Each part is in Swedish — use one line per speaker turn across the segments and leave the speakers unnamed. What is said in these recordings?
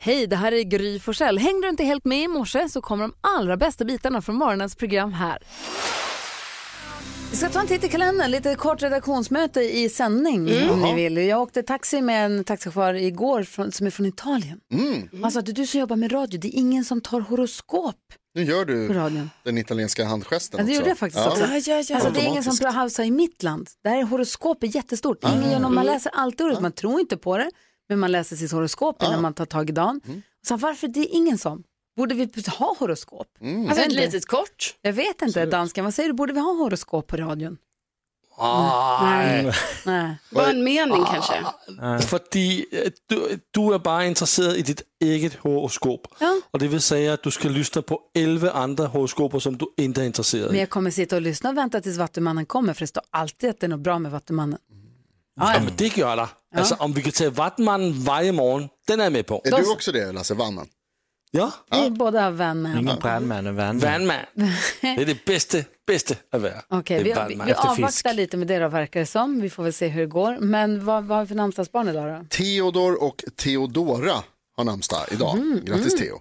Hej, det här är Gry Forssell. Hängde du inte helt med i morse så kommer de allra bästa bitarna från morgonens program här. Vi ska ta en titt i kalendern, lite kort redaktionsmöte i sändning
Mm.
om ni vill. Jag åkte taxi med en taxichaufför igår från, som är från Italien.
Mm.
Han sa att du som jobbar med radio, det är ingen som tar horoskop.
Nu gör du
På radion.
den italienska handgesten
Ja, det
också.
gjorde jag faktiskt
Ja.
också. Alltså, det är ingen som
Automatiskt. Ah.
halsar i mitt land. Det här är horoskop är jättestort. Ingen gör någon, man
Mm.
läser alltid horoskop, man tror inte på det, men man läser sitt horoskop
Ah.
innan man tar tag i dagen.
Mm.
Så varför det är ingen som? Borde vi ha horoskop?
Mm.
Alltså ett
Vänta.
litet kort.
Jag vet inte, dansken, vad säger du, borde vi ha horoskop på radion? Nej. Nej.
Bara en mening kanske.
Fordi øh, du, du er bare interesseret i dit eget horoskop. Og det vil sige, at du skal lytte på 11 andre horoskoper, som du ikke er interesseret
Men
i.
jag kommer sitta och lyssna och vänta tills Vattumannen kommer, för det står alltid att det är något bra med Vattumannen. Ja, ja.
Jamen, det gør der. Altså, om vi kan tage vatmanden hver morgen, den er jeg med på.
Är du också det Lasse, vannan?
Ja,
Vi är båda vän med honom.
Ingen brandman och vandman.
vandmand. Det er det bedste, bedste at være.
Okej,
det
vi,
er
vi,
vandmand.
vi
Efter fisk.
avvaktar lite med det då, verkar det som. Vi får väl se hur det går. Men vad, vad har vi för namnsdagsbarn idag då?
Theodor och Theodora har namnsdag idag.
Mm,
Grattis Theo.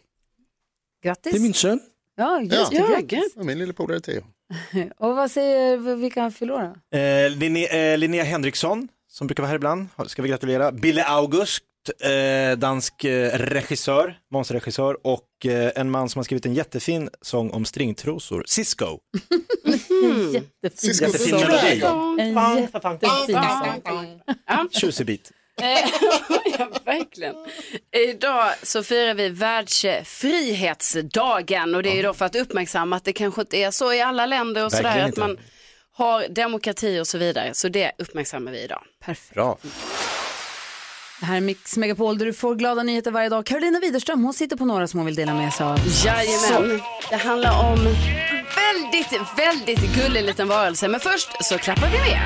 Grattis.
Det er min søn.
Ja, just det.
Ja.
Grattis.
Ja, Min lille polare Theo.
Och vad säger, vilka förlorar?
Eh, Linné, eh, Linnea Henriksson, som brukar vara här ibland, ska vi gratulera. Bille August, eh, dansk eh, regissör, monsterregissör och eh, en man som har skrivit en jättefin sång om stringtrosor, Cisco.
Jättefin.
Cisco
Jättefin
Cisco.
melodi.
En jättefin sång.
Tjusig bit.
ja, verkligen. Idag så firar vi världsfrihetsdagen och det är ju då för att uppmärksamma att det kanske inte är så i alla länder och sådär
Verkligen
att man har demokrati och så vidare. Så det uppmärksammar vi idag.
Perfekt.
Bra.
Det här är Mix Megapol där du får glada nyheter varje dag. Carolina Widerström, hon sitter på några som hon vill dela med sig av.
Jajamän, det handlar om väldigt, väldigt gullig liten varelse. Men först så klappar vi med.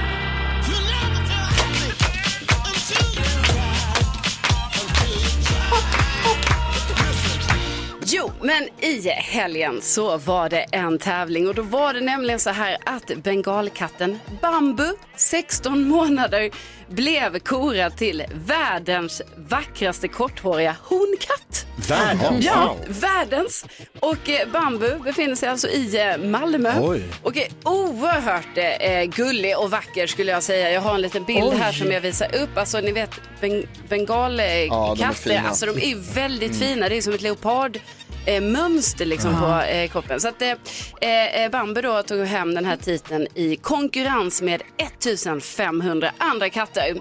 Jo, men i helgen så var det en tävling och då var det nämligen så här att bengalkatten Bambu, 16 månader, blev korad till världens vackraste korthåriga honkatt.
Världen.
Ja, världens. Och eh, Bambu befinner sig alltså i eh, Malmö.
Oj.
Och är oerhört eh, gullig och vacker skulle jag säga. Jag har en liten bild här som jag visar upp. Alltså ni vet ben-
Ja, de är
bengalkatter,
fina. Mm.
alltså de är ju väldigt fina. Det är som ett leopard. eh, Mönster liksom på eh, kroppen. Så att eh, eh, Bambu då tog hem den här titeln i konkurrens med 1500 andra katter.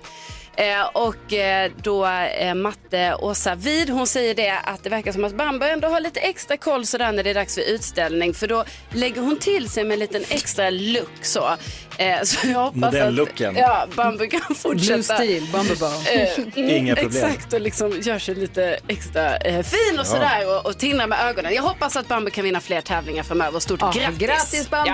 Eh, och eh, då eh, matte Åsa Vid, hon säger det att det verkar som att Bambu ändå har lite extra koll sådär när det är dags för utställning för då lägger hon till sig med en liten extra look så. Eh, så jag hoppas
Modellooken.
att ja, Bambu kan
Blue
fortsätta.
Steel, Bumblebee.
Eh, mm,
Inga problem.
Exakt och liksom gör sig lite extra eh, fin och sådär och, och tindrar med ögonen. Jag hoppas att Bambu kan vinna fler tävlingar framöver. Stort
Ja,
grattis!
grattis, Bambu!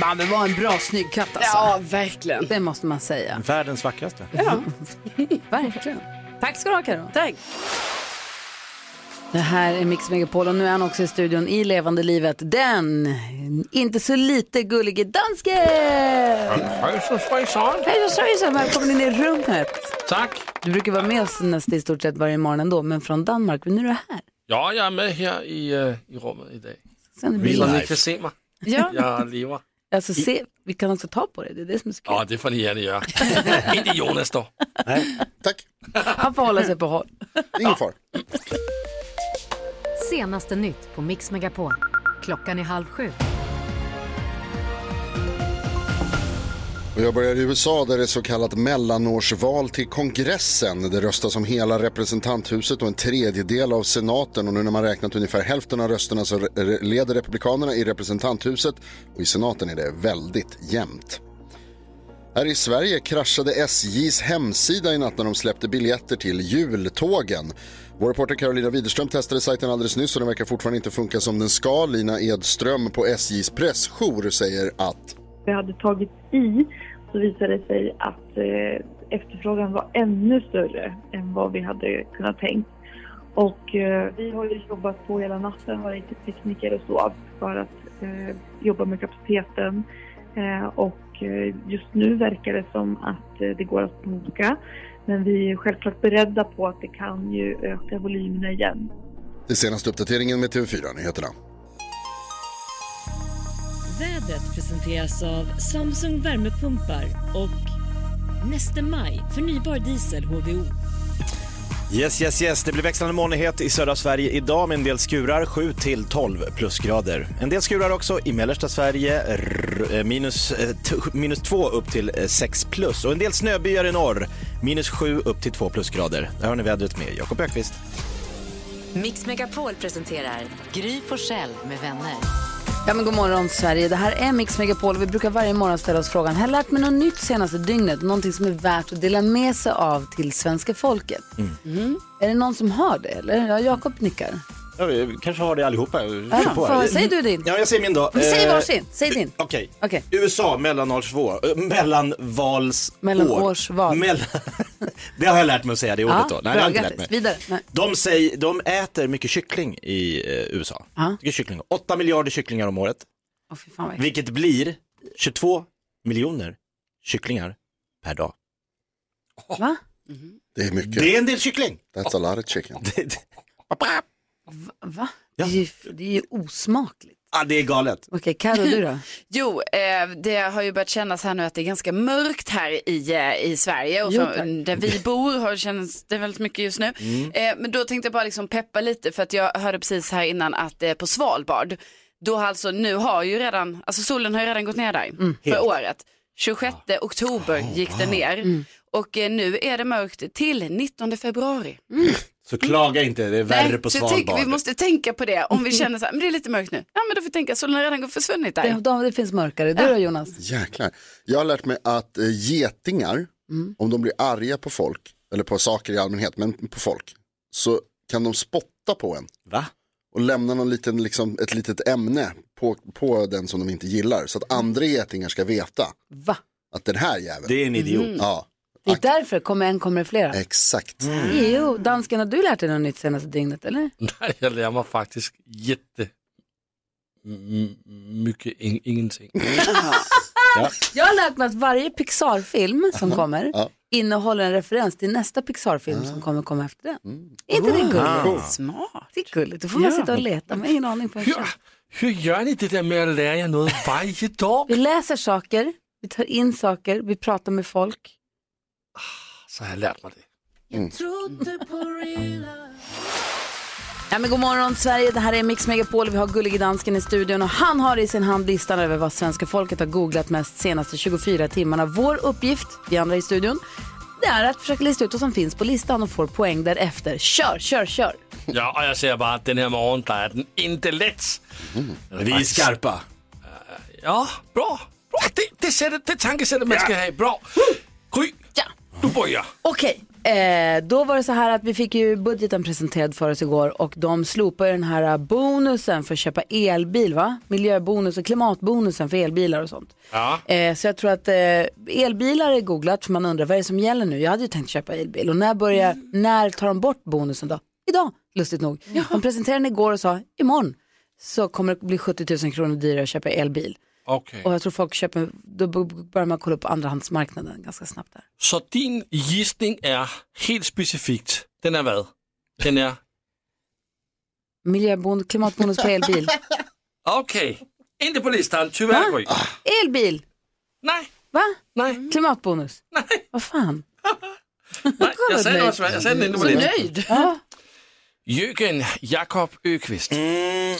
Man, det var en bra snygg katt alltså.
Ja, verkligen.
Det måste man säga.
Världens vackraste.
Verkligen. Tack ska du ha Karo.
Tack!
Det här är Mix Megapol och nu är han också i studion i levande livet. Den inte så lite gullige dansken! Hej då svejsan, välkommen in i rummet.
Tak.
Du brukar vara med oss nästan i stort sett varje morgon ändå, men från Danmark. Men nu är du här.
Ja, jeg er med her i, øh, i rummet i dag.
Sen är det bilder.
Som I kan se mig.
Ja,
Jeg lever.
alltså se, vi kan också ta på det. Det är det som är så kul.
Åh, det er fordi, han gør. Ikke Jonas dog.
Tack,
Han får hålla sig på håll.
ingen far.
Senaste nytt på Mix Megapol. Klockan är halv sju.
Och jag börjar i USA där det är så kallat mellanårsval till kongressen. Det röstas om hela representanthuset och en tredjedel av senaten. Och nu när man räknat ungefär hälften av rösterna så re- leder republikanerna i representanthuset. Och i senaten är det väldigt jämnt. Här i Sverige kraschade SJs hemsida i natt när de släppte biljetter till jultågen. Vår reporter Carolina Widerström testade sajten alldeles nyss och den verkar fortfarande inte funka som den ska. Lina Edström på SJs pressjour säger att
vi hade tagit i så visade det sig att eh, efterfrågan var ännu större än vad vi hade kunnat tänkt. Och eh, vi har ju jobbat på hela natten, varit tekniker och så för att eh, jobba med kapaciteten eh, och och eh, just nu verkar det som att eh, det går att boka. Men vi är självklart beredda på att det kan ju öka volymerna igen.
Det senaste uppdateringen med TV4-nyheterna.
Vädret presenteras av Samsung Värmepumpar och Neste Maj, förnybar diesel HVO.
Yes, yes, yes. Det blir växlande molnighet i södra Sverige idag med en del skurar, 7 till 12 plusgrader. En del skurar också i mellersta Sverige, r- eh, minus, eh, t- minus 2 upp till eh, 6 plus. Och en del snöbyar i norr, minus 7 upp till 2 plusgrader. Där har ni vädret med Jakob Ökvist.
Mix Megapol presenterar Gry Forssell med vänner.
Ja, men god morgon Sverige, det här är Mix Megapol. Vi brukar varje morgon ställa oss frågan, har jag lärt mig något nytt senaste dygnet? Någonting som är värt att dela med sig av till svenska folket.
Mm.
Mm. Är det någon som har det eller? Ja, Jakob nickar.
Ja, vi kanske har det allihopa.
Ja, får- säg Ah, du din.
Ja, jag säger min då.
Men säg
Eh,
varsin, säg din.
Okej.
Okej.
USA, mellanvalsvår. eh, Mellanvalsår.
Mellanårsval.
Mell- det har jag lärt mig att säga det ordet då. Nej, det har jag inte lärt
grattis.
mig.
Vidare. Nej.
De, säger, de äter mycket kyckling i eh, USA.
Ja.
Mycket kyckling. 8 miljarder kycklingar om året,
Åh, fy fan vad äckligt.
vilket blir 22 miljoner kycklingar per dag.
Va?
Det är mycket.
Det är en del kyckling.
That's a lot of chicken.
Va?
Ja.
Det, är ju, det är ju osmakligt.
ah, det är galet.
Okej, Carro du då?
Jo, eh, det har ju börjat kännas här nu att det är ganska mörkt här i, eh, i Sverige och
Jo,
för, där vi bor har känns det väldigt mycket just nu.
Mm.
Eh, men då tänkte jag bara liksom peppa lite för att jag hörde precis här innan att eh, på Svalbard, då har alltså nu har ju redan, alltså solen har ju redan gått ner där
Mm.
för året. 26
Ah.
oktober gick det ner
Mm.
och eh, nu är det mörkt till 19 februari.
Så klaga inte, det är värre på
så jag tänker
Svalbard.
vi måste tänka på det om vi känner så här, men det är lite mörkt nu. Ja men då får vi tänka, solen har redan försvunnit där.
Det, de, det finns mörkare. Du då Jonas?
Jäklar. Jag har lärt mig att eh, getingar, om de blir arga på folk, eller på saker i allmänhet, men på folk, så kan de spotta på en
Va?
och lämna någon liten, liksom, ett litet ämne på, på den som de inte gillar. Så att andra getingar ska veta
Va?
att den här jäveln,
Det är en idiot.
ja,
Det är därför kommer en kommer det flera.
exakt.
Mm.
Jo, dansken har du lärt dig något nytt senaste dygnet eller?
Nej, jag lär mig faktiskt jätte m- mycket in- ingenting.
Jag har lärt mig att varje Pixar-film som kommer
Ja.
innehåller en referens till nästa Pixar-film som kommer komma efter den. Är inte det
Uh-huh.
gulligt?
Ah.
Smart.
Det är gulligt, då får man sitta och leta, man har ingen aning på hur
Hur, hur gör ni det där med att lära er något varje dag?
Vi läser saker, vi tar in saker, vi pratar med folk.
Så har jag lärt mig det.
Ja, men god morgon Sverige, det här är Mix Megapol, vi har gullig dansken i studion och han har i sin hand listan över vad svenska folket har googlat mest senaste 24 timmarna. Vår uppgift, vi andra i studion, det är att försöka lista ut vad som finns på listan och får poäng därefter. Kör, kör, kör!
Ja, och jag säger bara att den här morgonen där är den inte lätt.
Mm.
Eh,
Vi är skarpa.
Ja, bra. bra. Det, det, sättet, det tankesättet man ska ha. Bra. Gry,
Ja.
du börjar.
Okej, eh, då var det så här att vi fick ju budgeten presenterad för oss igår och de slopar ju den här bonusen för att köpa elbil va? Miljöbonus och klimatbonusen för elbilar och sånt.
Ja.
Eh, så jag tror att eh, elbilar är googlat för man undrar vad är det som gäller nu? Jag hade ju tänkt köpa elbil och när börjar, när tar de bort bonusen då? Idag, lustigt nog. De presenterade den igår och sa imorgon så kommer det bli 70 000 kronor dyrare att köpa elbil.
Okej.
Och jag tror folk köper, då börjar man kolla på andrahandsmarknaden ganska snabbt där.
Så din gissning är helt specifikt. Den är vad? Den är...
Miljöbonus, klimatbonus på elbil.
Okej. Inte på listan, tyvärr Gry.
Elbil,
Nej,
va?
nej,
Klimatbonus.
nej.
Vad fan?
nej. Jag säger
mig.
något, jag säger den inte på
Så
listan.
nöjd.
Ja.
Jürgen Jakob Öqvist.
Mm,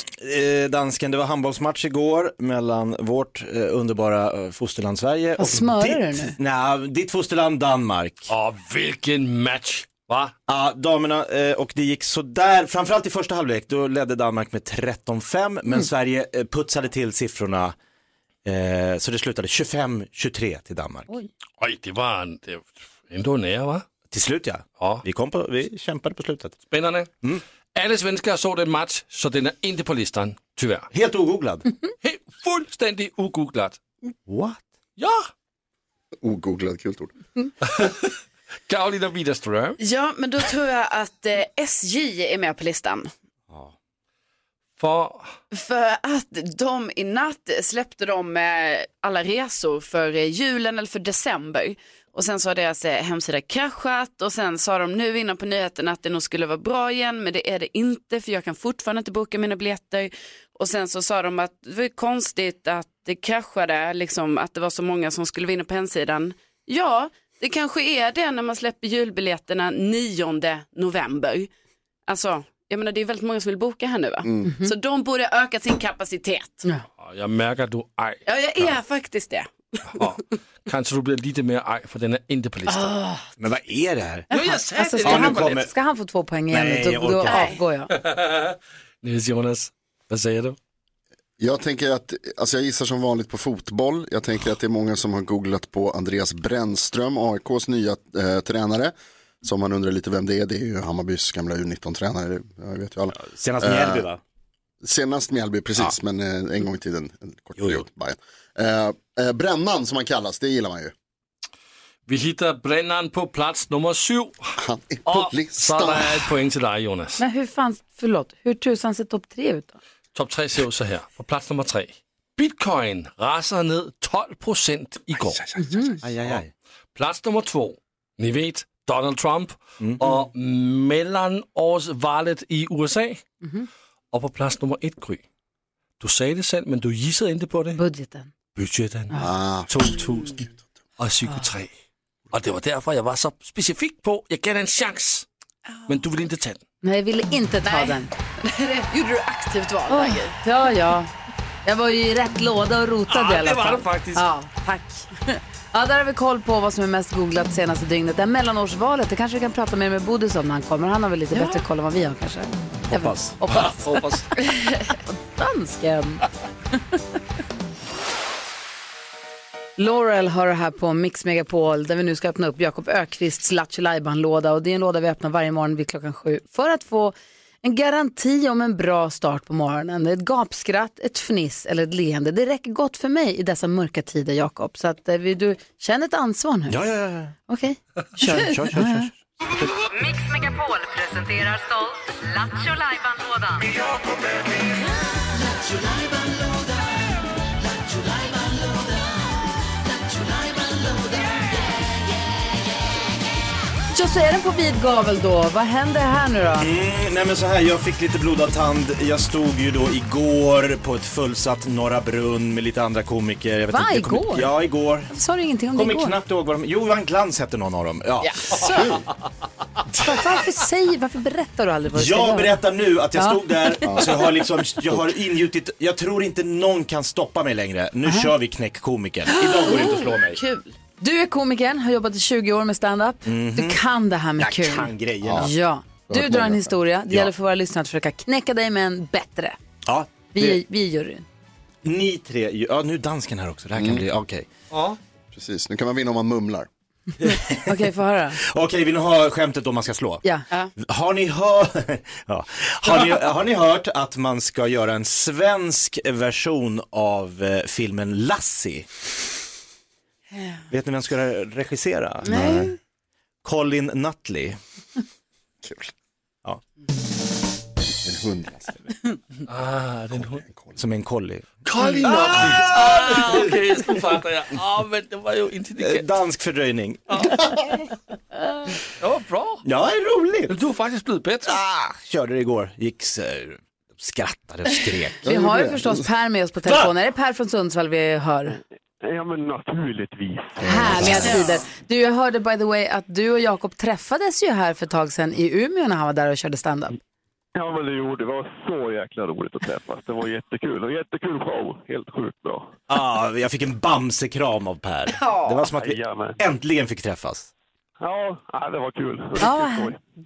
eh, dansken, det var handbollsmatch igår mellan vårt eh, underbara eh, fosterland Sverige och
smörar
ditt,
du nu?
Nej, ditt fosterland Danmark.
Åh, vilken match! Va?
Ja, damerna, eh, och det gick sådär, framförallt i första halvlek, då ledde Danmark med 13-5, men
Mm.
Sverige eh, putsade till siffrorna, eh, så det slutade 25-23 till Danmark.
Oj, det var en, det, ändå nära va?
Till slut ja,
Ja.
vi, kom på, vi kämpade på Mm. slutet.
Spännande. Alla svenskar såg den match, så den är inte på listan, tyvärr.
Helt ogooglad.
Helt fullständigt ogooglat.
What?
Ja!
Ogooglad, kul ord.
Karolina Widerström.
Ja, men då tror jag att eh, SJ är med på listan.
För
För att de i natt släppte de eh, alla resor för eh, julen eller för december. Och sen så har deras eh, hemsida kraschat och sen sa de nu innan på nyheten att det nog skulle vara bra igen men det är det inte för jag kan fortfarande inte boka mina biljetter. Och sen så sa de att det var ju konstigt att det kraschade, liksom att det var så många som skulle vinna på hemsidan. Ja, det kanske är det när man släpper julbiljetterna 9 november. Alltså, jag menar det är väldigt många som vill boka här nu va?
Mm. Mhm.
Så de borde öka sin kapacitet. Ja,
jag märker att du är arg.
jag är faktiskt det.
Kanske du blir lite mer arg för den är inte på listan.
Ah.
Men vad är det här? Jo, jag säger
Alltså,
det.
ska,
Ja, nu
han,
kommer-
ska han få två poäng igen
Nej, jag
då, då
orkar inte.
avgår jag.
Nils Jonas, vad säger du?
Jag tänker att, alltså jag gissar som vanligt på fotboll. Jag tänker att det är många som har googlat på Andreas Brännström, AIKs nya eh, tränare. Som man undrar lite vem det är, det är ju Hammarbys gamla U19-tränare. det- Jag vet ju alla.
Senast Mjällby,
Eh,
va?
Senast Mjällby, precis, men eh, en gång i tiden. En kort jo, jo. Eh, eh, Brännan som han kallas, det gillar man ju.
Vi hittar brännaren på plats nummer sju.
Han är
på Och listan. Så där är ett poäng till dig Jonas.
Men hur fan, förlåt, hur tusan ser topp tre ut då?
Topp tre ser ut så här. På plats nummer tre. Bitcoin rasar ned 12 procent igår. Plats nummer två. Ni vet, Donald Trump och mellanårsvalet i USA. Och på plats nummer ett, Gry. Du sa det sen, men du gissade inte på det.
Budgeten.
Budgeten.
Ah.
2000 och 23. Och det var därför jag var så specifik på, jag gav dig en chans. Men du ville inte ta den.
Nej, jag ville inte ta
Nej.
den.
det gjorde du aktivt val
Åh,
Maggie.
ja, ja. Jag var ju i rätt låda och rotade
Ja,
i alla
det
fall.
var du faktiskt.
Ja, tack. Ja, där har vi koll på vad som är mest googlat senaste dygnet. Det här mellanårsvalet, det kanske vi kan prata mer med Bodis om när han kommer. Han har väl lite bättre koll än vad vi har kanske. Hoppas. Hoppas.
Hoppas.
Dansken. Laurel har det här på Mix Megapol där vi nu ska öppna upp Jakob Ökvists Lattjo låda och det är en låda vi öppnar varje morgon vid klockan sju för att få en garanti om en bra start på morgonen. Ett gapskratt, ett fniss eller ett leende. Det räcker gott för mig i dessa mörka tider, Jakob. Så att eh, vi- du känner ett ansvar nu.
Ja, ja, ja.
Okej.
Kör, kör, kör, kör, kör.
Mix Megapol presenterar stolt Lattjo Lajban-lådan.
Ja, så är den på vid gavel då. Vad händer här nu då?
Mm, nej men så här, jag fick lite blodad tand. Jag stod ju då igår på ett fullsatt Norra Brunn med lite andra komiker. Jag
Va,
jag kommer-
igår?
Ja, igår.
Sa du ingenting om det
Kommer
igår?
knappt ihåg vad de... Jo, Van Glans hette någon av dem. Ja.
Så. Varför, säger, varför berättar du aldrig vad du ska
Jag
göra?
berättar nu att jag
Ja.
stod där,
Ja.
så jag har liksom, jag har ingjutit, jag tror inte någon kan stoppa mig längre. Nu kör vi knäck komikern. Idag går det inte att slå mig.
Kul. Du är komikern, har jobbat i 20 år med stand-up.
Mhm.
Du kan det här med
Jag
kul.
kan grejerna.
Ja. Du drar en historia. Det
Ja.
gäller för våra lyssnare att försöka knäcka dig med en bättre.
Ja,
Vi,
det,
är- vi är juryn.
ni tre, ja nu är dansken här också, det här kan
Mm.
bli, okej.
Ja.
Precis, nu kan man vinna om man mumlar.
Okej, få höra.
Okej, vill ni ha skämtet om man ska slå?
Ja.
Har ni, hör... ja. har, ni, har ni hört att man ska göra en svensk version av eh, filmen Lassie? Vet ni vem ska regissera?
Nej.
Colin Nutley.
Kul.
Ja.
En hund.
alltså.
Ah, den hund.
Som en collie.
Colin
Ah!
Ah, Okej, nu fattar jag. Ah, men det var ju
Eh,
intelligent.
Dansk fördröjning.
Det var bra.
Ja, det är roligt.
Du har faktiskt blivit bättre.
Ah, körde det igår, gick så... skrattade och skrek.
Vi har ju förstås Per med oss på telefon. Är det Per från Sundsvall vi hör?
Ja, men naturligtvis.
Härliga tider. Du, jag hörde by the way att du och Jakob träffades ju här för ett tag sedan i Umeå när han var där och körde stand-up.
Ja, men det gjorde det. var så jäkla roligt att träffas. Det var jättekul. Och jättekul show. Helt sjukt bra.
Ah, jag fick en bamsekram av Per. Det var som att vi
Jajamän.
äntligen fick träffas.
Ja, ja, det var kul.
Ja,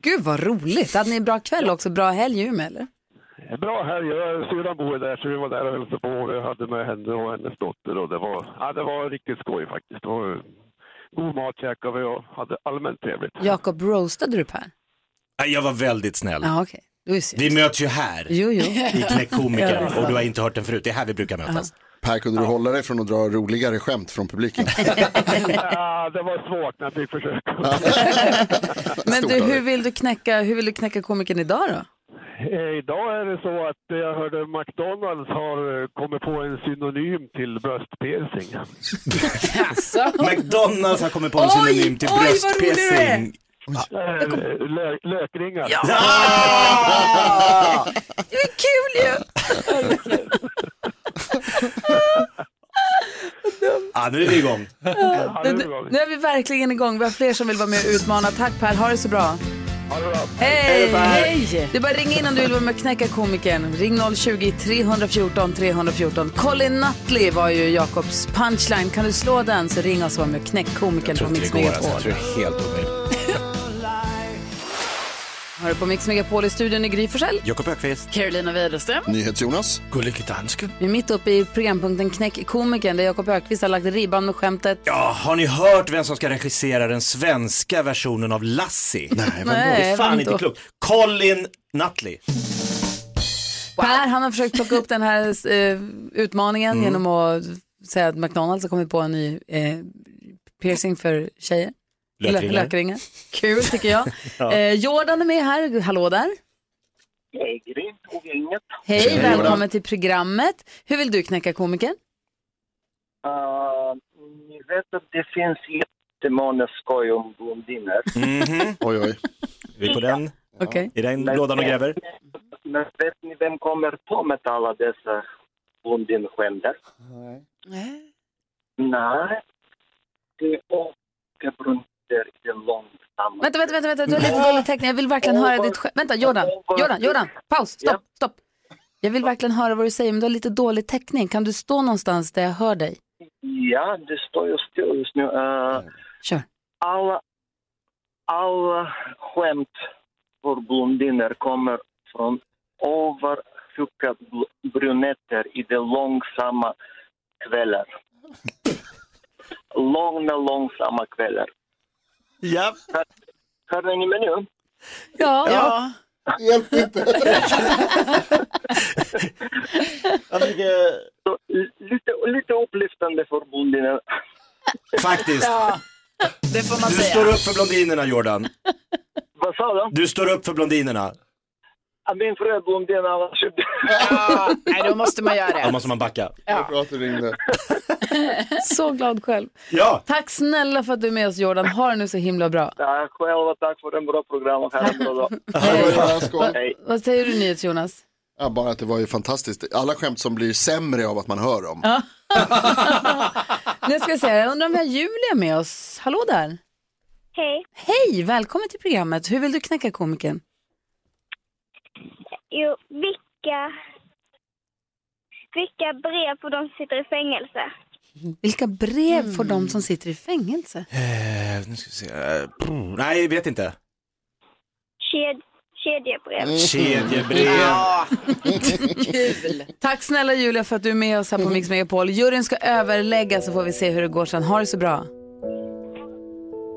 gud vad roligt. Hade ni en bra kväll också? Bra helg i Umeå eller?
Bra helg. Jag- Syrran bor där, så vi var där och hälsade på. Och Jag hade med henne och hennes dotter. Och det, var, ja, det var riktigt skoj faktiskt. Det var god mat käkade vi och hade allmänt trevligt.
Jakob, roastade du Per?
Nej, Jag var väldigt snäll.
Ja, okej. Det var ju synd.
Mm. Vi möts ju här
Jo, jo.
i Knäck
Ja, det är
komiker
sant.
och du har inte hört den förut. Det är här vi brukar mötas.
Per, kunde du hålla dig från att dra roligare skämt från publiken?
Ja, det var svårt, men jag fick försöka.
Men
Stort av
du,
dig.
hur vill du knäcka, hur vill du knäcka komikern idag då?
Eh, Idag är det så att eh, jag hörde McDonalds har eh, kommit på en synonym till bröstpiercing.
McDonalds har kommit på en synonym till bröstpiercing.
Eh, lö- Lökringar.
Det är kul ju!
Ja, nu är vi igång.
Ja, nu, nu är vi verkligen igång. Vi har fler som vill vara med och utmana. Tack Per, ha det så bra. Hej!
Hej, Per.
Hej! Du bara ring in om du vill vara med och knäcka komikern. Ring 020-314 314. Colin Nutley var ju Jakobs punchline. Kan du slå den så ring oss och var med och knäck komikern på Mix
alltså.
Megapol.
alltså. tror det är helt omöjligt.
Har du på Mix Megapol i studion i Gry Forssell.
Jakob Ökvist.
Carolina Widerström.
NyhetsJonas.
Gullige dansken.
Vi är mitt uppe i programpunkten Knäck komikern där Jakob Ökvist har lagt ribban med skämtet.
Ja, har ni hört vem som ska regissera den svenska versionen av Lassie? Nej,
vem då? Nej,
Det är fan
vem
inte
då?
klokt. Colin Nutley.
Per, han har försökt plocka upp den här eh, utmaningen
Mm.
genom att säga att McDonalds har kommit på en ny eh, piercing för tjejer.
Lökringar.
Lö- Lökringar. Kul tycker jag. eh, Jordan är med här, hallå där.
Hej Gry och gänget.
Hej, välkommen till programmet. Hur vill du knäcka komikern?
Uh, ni vet att det finns jättemånga skoj om blondiner.
Oj, oj.
Mhm. Är vi på den?
Okej.
I den
Men-
lådan och gräver?
Men vet ni vem kommer på med alla dessa blondinskämder?
Nej.
Nej, det är Åke Brunder i det långsamma.
Vänta, vänta, vänta, vänta. du har lite dålig täckning. Jag vill verkligen höra ditt skämt. Vänta, Jordan, Jordan, Jordan, paus, stopp, stopp. Jag vill verkligen höra vad du säger, men du har lite dålig täckning. Kan du stå någonstans där jag hör dig?
Ja, det står ju still just nu. Uh,
Kör.
Alla, alla skämt för blondiner kommer från överhuckade bl- brunetter i de långsamma kvällar. Långa, långsamma kvällar.
Ja.
Hör, hörde ni mig nu?
Ja.
ja.
Hjälp inte.
Så, l- lite, lite upplyftande för blondiner.
Faktiskt.
Det får man
Du
säga.
står upp för blondinerna, Jordan.
Vad sa du?
Du står upp för blondinerna.
Ah, Min fru är blondin, annars...
Ja, nej, då måste man göra
Då
det.
måste man backa.
Vad bra att du ringde.
Så glad själv.
Ja!
Tack snälla för att du är med oss Jordan. Ha det nu så himla bra.
Tack själva, tack för en bra program och ha en bra dag.
Skål.
Hej.
Vad säger du nyhets Jonas?
Ja, bara att det var ju fantastiskt. Alla skämt som blir sämre av att man hör dem.
Nu ska jag säga, jag undrar om vi har Julia med oss. Hallå där.
Hej.
Hej, välkommen till programmet. Hur vill du knäcka komikern?
Jo, vilka, vilka brev på de som sitter i fängelse?
Vilka brev får de som sitter i fängelse?
Eh, nu ska vi se. Eh, pff, Nej, vet inte.
Ked, kedjebrev.
Kedjebrev.
Kul.
Tack snälla Julia för att du är med oss här på Mix Megapol. Juryn ska överlägga så får vi se hur det går sen. Ha det så bra.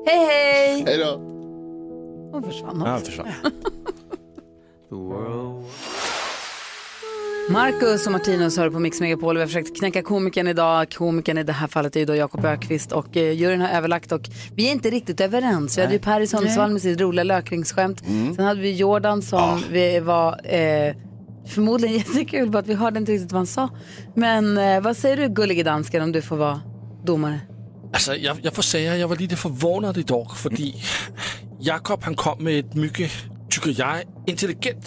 Hej hej!
Hej då.
Hon försvann
Ja,
också.
försvann.
Marcus och Martinus hör på Mix Megapol. Vi har försökt knäcka komikern idag. Komikern i det här fallet är ju då Jakob Ökvist och eh, juryn har överlagt och vi är inte riktigt överens. Vi hade ju Per i Sundsvall med sitt roliga lökringsskämt.
Mm.
Mm.
Sen hade vi Jordan som vi var eh, förmodligen jättekul på att vi hörde inte riktigt vad han sa. Men eh, vad säger du gullige dansken om du får vara domare?
Altså, jeg, jeg alltså, får sige, at jeg var lidt forvånet i dag, fordi Jakob han kom med et mygge, tykker jeg, intelligent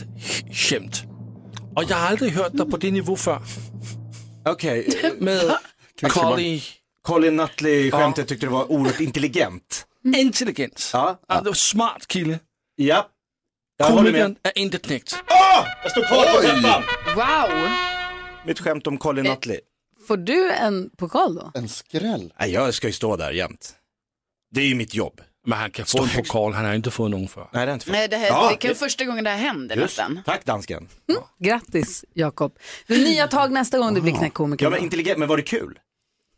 skæmt. Og jeg har aldrig hørt dig på det niveau før.
Okej, eh,
Med Collie
Colin Nutley-skämtet tyckte det var oerhört intelligent.
Mm. Intelligent.
Ja.
Ja. Det var smart kilde.
Ja. Jag håller med.
Komikeren er intet knægt.
Jag står kvar på trappan!
Wow.
Mitt skämt om Colin Nutley.
Eh, Får du en pokal då?
En skräll.
Nej, jag ska ju stå där jämt. Det är ju mitt jobb.
Men han kan få en pokal, han har inte fået nogen før.
Nej, det är inte
Nej, det, här,
Ja,
det är första gången det här händer
Just.
nästan.
Tack dansken.
Grattis Jakob. Det är nya tag nästa gång du blir knäckt
Ah. Ja
komiker.
men intelligent, men var det kul?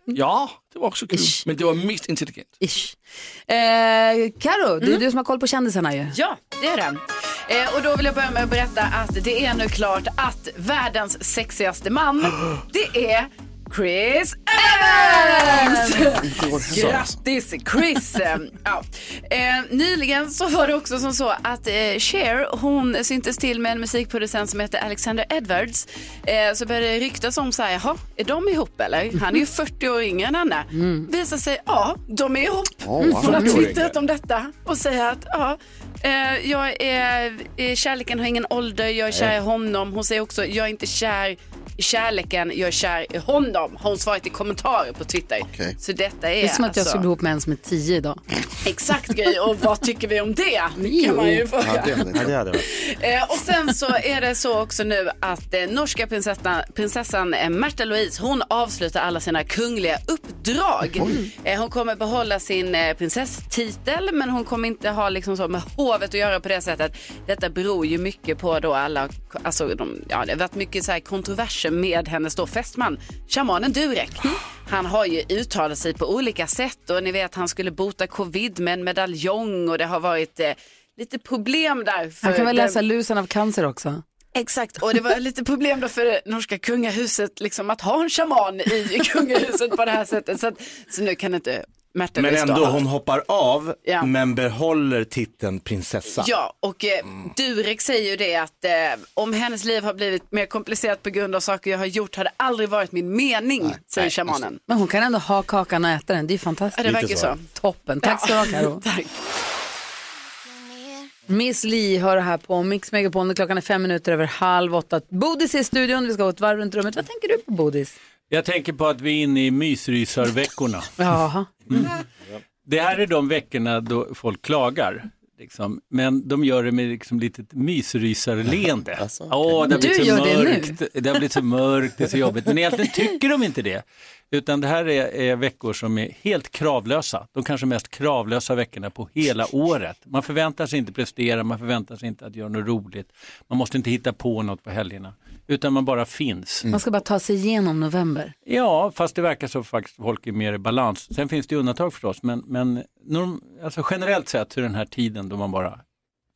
Mm.
Ja, det var också kul. Men det var mest intelligent.
Ish. Eh, Karo, det är
Mm.
du som har koll på kändisarna ju.
Ja, det är den. Eh, och då vill jag börja med att berätta att det är nu klart att världens sexigaste man, det är
Chris Evans!
Så.
Grattis Chris! ja. eh, nyligen så var det också som så att eh, Cher, hon syntes till med en musikproducent som heter Alexander Edwards. Eh, så började det ryktas om så här, jaha, är de ihop eller? Han är ju 40 år yngre än henne. Visar sig, ja, de är ihop.
Åh,
hon
vad
har
roligt.
twittrat om detta och säger att, ja, eh, jag är, eh, kärleken har ingen ålder, jag är kär i
Nej.
honom. Hon säger också, jag är inte kär i kärleken, jag är kär i honom. Har hon svarat i kommentarer på Twitter. Så detta är,
Det är som att jag
alltså
skulle bli ihop med en som är tio idag.
exakt grej och vad tycker vi om det? Kan man ju fråga. Eh, och sen så är det så också nu att eh, norska prinsessan, prinsessan eh, Märtha Louise, hon avslutar alla sina kungliga uppdrag. Eh, hon kommer behålla sin eh, prinsesstitel, men hon kommer inte ha liksom så med hovet att göra på det sättet. Detta beror ju mycket på då alla, alltså de, ja, det har varit mycket så här kontroverser med hennes då fästman, shamanen Durek. Han har ju uttalat sig på olika sätt och ni vet han skulle bota covid med en medaljong och det har varit eh, lite problem där. För
Han kan väl
den-
läsa lusen av cancer också?
Exakt, och det var lite problem då för det norska kungahuset liksom, att ha en shaman i kungahuset på det här sättet. Så, att, så nu kan inte Märta
Men
Louise då
ändå,
ha-
hon hoppar av
Ja.
men behåller titeln prinsessa.
Ja, och eh, Durek säger ju det att eh, om hennes liv har blivit mer komplicerat på grund av saker jag har gjort har det aldrig varit min mening, säger shamanen.
Men hon kan ändå ha kakan och äta den, det är ju
Ja,
fantastiskt.
det verkar Lite så.
Toppen, tack ska du ha Karo.
Tack.
Miss Li hör här på Mix Megapone, klockan är fem minuter över halv åtta. Bodis är i studion, vi ska gå ett varv runt rummet. Vad tänker du på Bodis?
Jag tänker på att vi är inne i mysrysarveckorna.
Jaha.
Det här är de veckorna då folk klagar. Liksom. Men de gör det med liksom lite mysrysarleende.
alltså.
Åh, det har
Du
blivit så
gör det nu.
mörkt, det, har blivit så mörkt, det är så jobbigt. Men egentligen tycker de inte det. Utan det här är, är veckor som är helt kravlösa. De kanske mest kravlösa veckorna på hela året. Man förväntar sig inte prestera, man förväntar sig inte att göra något roligt. Man måste inte hitta på något på helgerna. Utan man bara finns.
Mm.
Man ska bara ta sig igenom november.
Ja, fast det verkar så faktiskt folk är mer i balans. Sen finns det ju undantag förstås, men, men norm, alltså generellt sett så är den här tiden då man bara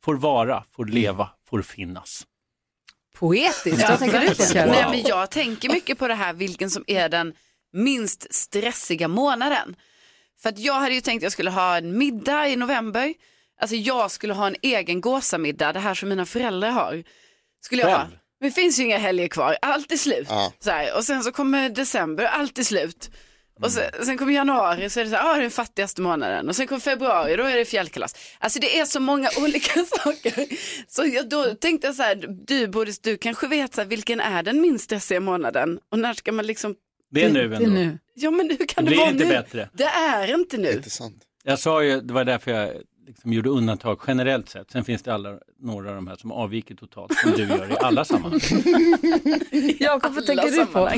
får vara, får
Mm.
leva, får finnas.
Poetiskt,
Ja,
vad tänker du på
verkligen.
Karo?
Nej, men jag tänker mycket på det här vilken som är den minst stressiga månaden. För att jag hade ju tänkt att jag skulle ha en middag i november. Alltså jag skulle ha en egen gåsamiddag, det här som mina föräldrar har. Skulle jag ha.
Själv?
Men det finns ju inga helger kvar, allt är slut.
Ja.
Så här. Och sen så kommer december, allt är slut. Och sen, sen kommer januari så är det så här, ah, den fattigaste månaden. Och sen kommer februari, då är det fjällkalas. Alltså det är så många olika saker. Så jag,
Mm.
då tänkte jag så här, du Boris, du kanske vet så här, vilken är den minst stressiga månaden? Och när ska man liksom...
Det är nu Det är ändå. nu.
Ja men hur kan det,
blir
vara
inte
nu?
bättre.
Det är inte nu.
Jag sa ju, det var därför jag liksom gjorde undantag generellt sett. Sen finns det alla, några av de här som avviker totalt, som du gör i alla sammanhang.
Jakob, vad tänker du på?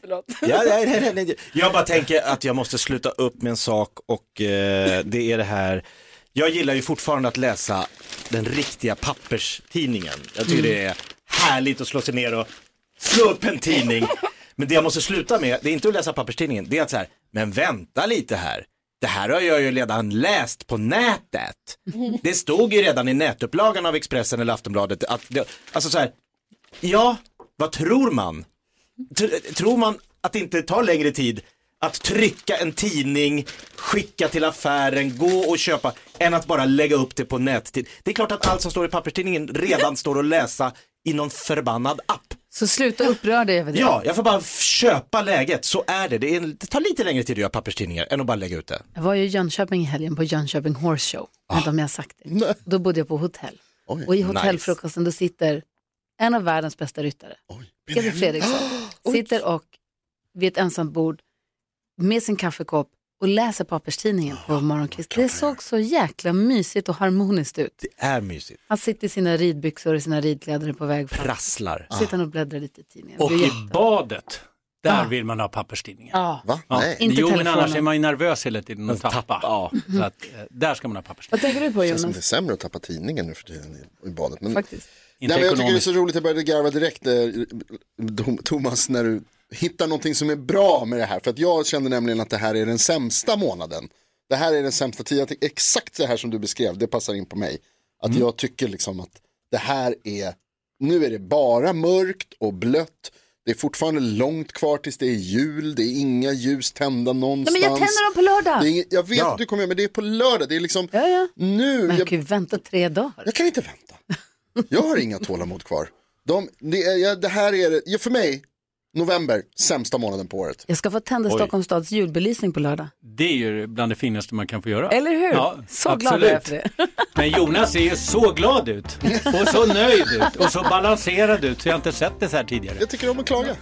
Ja, nej, nej, nej, nej. Jag bara tänker att jag måste sluta upp med en sak och eh, det är det här. Jag gillar ju fortfarande att läsa den riktiga papperstidningen. Jag tycker
Mm.
det är härligt att slå sig ner och slå upp en tidning. Men det jag måste sluta med, det är inte att läsa papperstidningen, det är att så här, men vänta lite här. Det här har jag ju redan läst på nätet. Det stod ju redan i nätupplagan av Expressen eller Aftonbladet att, det, alltså så här, ja, vad tror man? Tr- tror man att det inte tar längre tid att trycka en tidning, skicka till affären, gå och köpa, än att bara lägga upp det på nättid? Det är klart att allt som står i papperstidningen redan står att läsa i någon förbannad app.
Så sluta uppröra dig över det.
Ja, jag får bara f- köpa läget, så är det. Det, är en, det tar lite längre tid att göra papperstidningar än att bara lägga ut det.
Jag var ju i Jönköping i helgen på Jönköping Horse Show.
Ah.
Jag vet inte om jag har sagt det. Och då bodde jag på hotell. och i hotellfrukosten då sitter en av världens bästa ryttare, Peter Fredriksson, sitter och vid ett ensamt bord med sin kaffekopp och läser papperstidningen
Ah,
på morgonkvisten. Det såg så jäkla mysigt och harmoniskt ut.
Det är mysigt.
Han sitter i sina ridbyxor och sina ridkläder och är på väg fram.
Prasslar.
Sitter han och bläddrar lite i tidningen.
Och
Det är
i
jätte-
badet, där vill man ha papperstidningen.
Ja.
Ja.
Inte
jo, men
telefonen.
annars är man ju nervös hela tiden och tappar. Ja. Så att, eh, där ska man ha papperstidningen.
Vad tänker du på
känns som det är
Jonas?
sämre att tappa tidningen nu för tiden i, i badet. Men...
Faktiskt.
Nej,
Inte
men jag tycker det är
ekonomiskt.
så roligt, jag började garva direkt eh, Tom- Thomas när du hittar någonting som är bra med det här. För att jag känner nämligen att det här är den sämsta månaden. Det här är den sämsta tiden, Jag tycker
Mm.
exakt det här som du beskrev, det passar in på mig. Att jag tycker liksom att det här är Nu är det bara mörkt och blött. Det är fortfarande långt kvar tills det är jul, det är inga ljus tända någonstans.
men jag tänder dem på lördag.
Det är inget, jag vet
Ja.
att du kommer göra men det är på lördag. Det är liksom nu.
Men jag
jag,
kan ju vänta tre dagar.
jag kan inte vänta. Jag har inga tålamod kvar. De, det, är, jag, det här är, ja, för mig, november, sämsta månaden på året.
Jag ska få tända
Oj.
Stockholms stads julbelysning på lördag.
Det är ju bland det finaste man kan få göra.
Eller hur?
Ja,
så
absolut.
glad är jag för det.
Men Jonas ser ju så glad ut och så nöjd ut och så balanserad ut så jag har inte sett det så här tidigare.
Jag tycker om att klaga.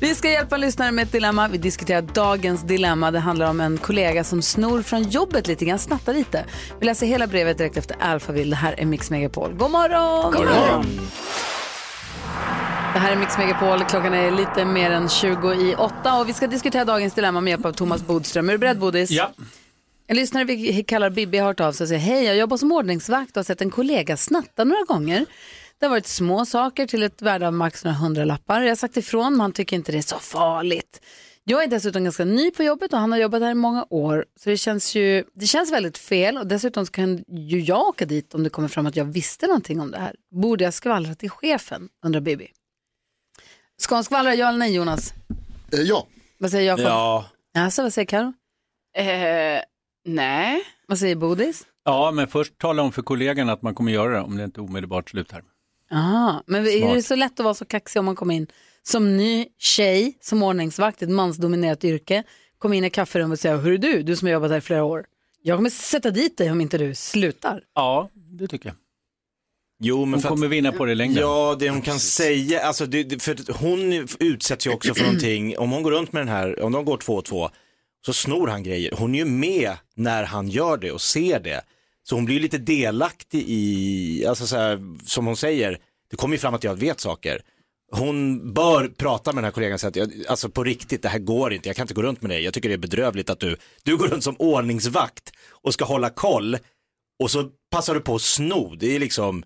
Vi ska hjälpa lyssnare med ett dilemma. Vi diskuterar dagens dilemma. Det handlar om en kollega som snor från jobbet lite grann, snattar lite. Vi läser hela brevet direkt efter Alphaville. Det här är Mix Megapol. God morgon!
God morgon!
Det här är Mix Megapol. Klockan är lite mer än 20 i åtta och vi ska diskutera dagens dilemma med hjälp av Thomas Bodström. Är du beredd Bodis?
Ja.
En lyssnare vi kallar Bibi har hört av sig och säger hej, jag jobbar som ordningsvakt och har sett en kollega snatta några gånger. Det har varit små saker till ett värde av max några hundralappar. Jag har sagt ifrån, men han tycker inte det är så farligt. Jag är dessutom ganska ny på jobbet och han har jobbat här i många år. Så det känns ju, det känns väldigt fel och dessutom så kan ju jag åka dit om det kommer fram att jag visste någonting om det här. Borde jag skvallra till chefen, undrar Bibi. Ska hon skvallra, ja eller nej Jonas?
ja.
Vad säger Jakob?
Ja.
Alltså, vad säger Karo?
nej.
Vad säger Bodis?
Ja, men först tala om för kollegan att man kommer göra det om det inte omedelbart slutar.
Aha, Ah, men är det
Smart.
så lätt att vara så kaxig om man kommer in som ny tjej, som ordningsvakt, ett mansdominerat yrke, kommer in i kafferummet och säger hur är du, du som har jobbat här i flera år. Jag kommer sätta dit dig om inte du slutar.
Ja, det tycker jag.
Jo, men
Hon
för
kommer vinna på det i längden.
Ja, det hon kan säga, alltså det, det- för hon utsätts ju också för någonting, om hon går runt med den här, om de går två och två, så snor han grejer. Hon är ju med när han gör det och ser det. Så hon blir ju lite delaktig i, alltså så här, som hon säger, det kommer ju fram att jag vet saker. Hon bör prata med den här kollegan och säga att, jag, alltså på riktigt, det här går inte, jag kan inte gå runt med dig, jag tycker det är bedrövligt att du, du går runt som ordningsvakt och ska hålla koll och så passar du på att sno, det är liksom,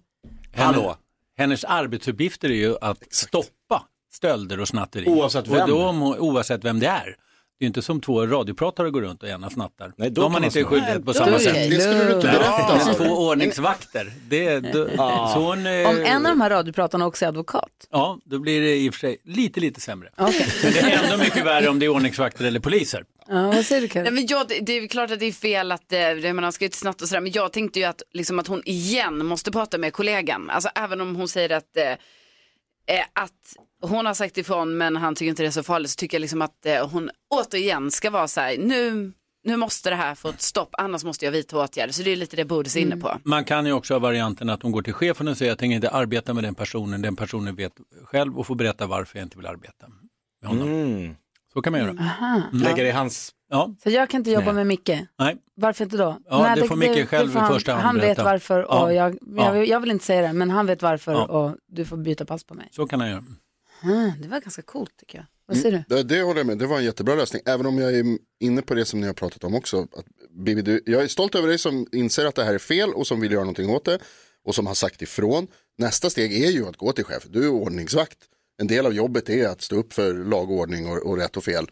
hallå.
Hennes arbetsuppgifter är ju att stoppa stölder och snatteri.
Oavsett vem.
Och då, om hon- oavsett vem det är. Det är ju inte som två radiopratare går runt och ena snattar. Nej,
då
då har
kan
man
man
inte
snå.
skyldighet på
Nej,
samma
då är
sätt.
det Det skulle du inte lugnt. berätta. Ah.
Men Två ordningsvakter. Det, då,
Ja.
så hon, eh,
Om en av de här radiopratarna också är advokat.
Ja, då blir det i och för sig lite, lite sämre. Men det är ändå mycket värre om det är ordningsvakter eller poliser.
Ja, vad säger du Karin?
Nej, men jag, det, det är väl klart att det är fel att, eh, det, man ska ju inte snabbt och sådär, men jag tänkte ju att, liksom, att hon igen måste prata med kollegan. Alltså även om hon säger att, eh, eh, att hon har sagt ifrån men han tycker inte det är så farligt så tycker jag liksom att eh, hon återigen ska vara så här, nu, nu måste det här få ett stopp annars måste jag vidta åtgärder. Så det är lite det Bodis är inne på.
Man kan ju också ha varianten att hon går till chefen och säger jag tänker inte arbeta med den personen, den personen vet själv och får berätta varför jag inte vill arbeta med honom. Så kan man göra.
Aha.
Lägga
Mm. det i hans...
Ja,
Så jag kan inte jobba
Mm. Nej.
med Micke?
nej.
Varför inte då?
Ja, det får Micke själv
får han,
i första hand
Han vet
berätta.
varför och
Ja.
jag, jag,
Ja.
vill- jag vill inte säga det, men han vet varför
Ja.
och du får byta pass på mig.
Så kan han göra.
Ah, det var ganska coolt tycker jag. Vad säger du?
Mm. Det, det håller jag med, det var en jättebra lösning. Även om jag är inne på det som ni har pratat om också. Att, Bibi, du, jag är stolt över dig som inser att det här är fel och som vill göra någonting åt det. Och som har sagt ifrån. Nästa steg är ju att gå till chef. Du är ordningsvakt. En del av jobbet är att stå upp för lag och ordning och, och rätt och fel.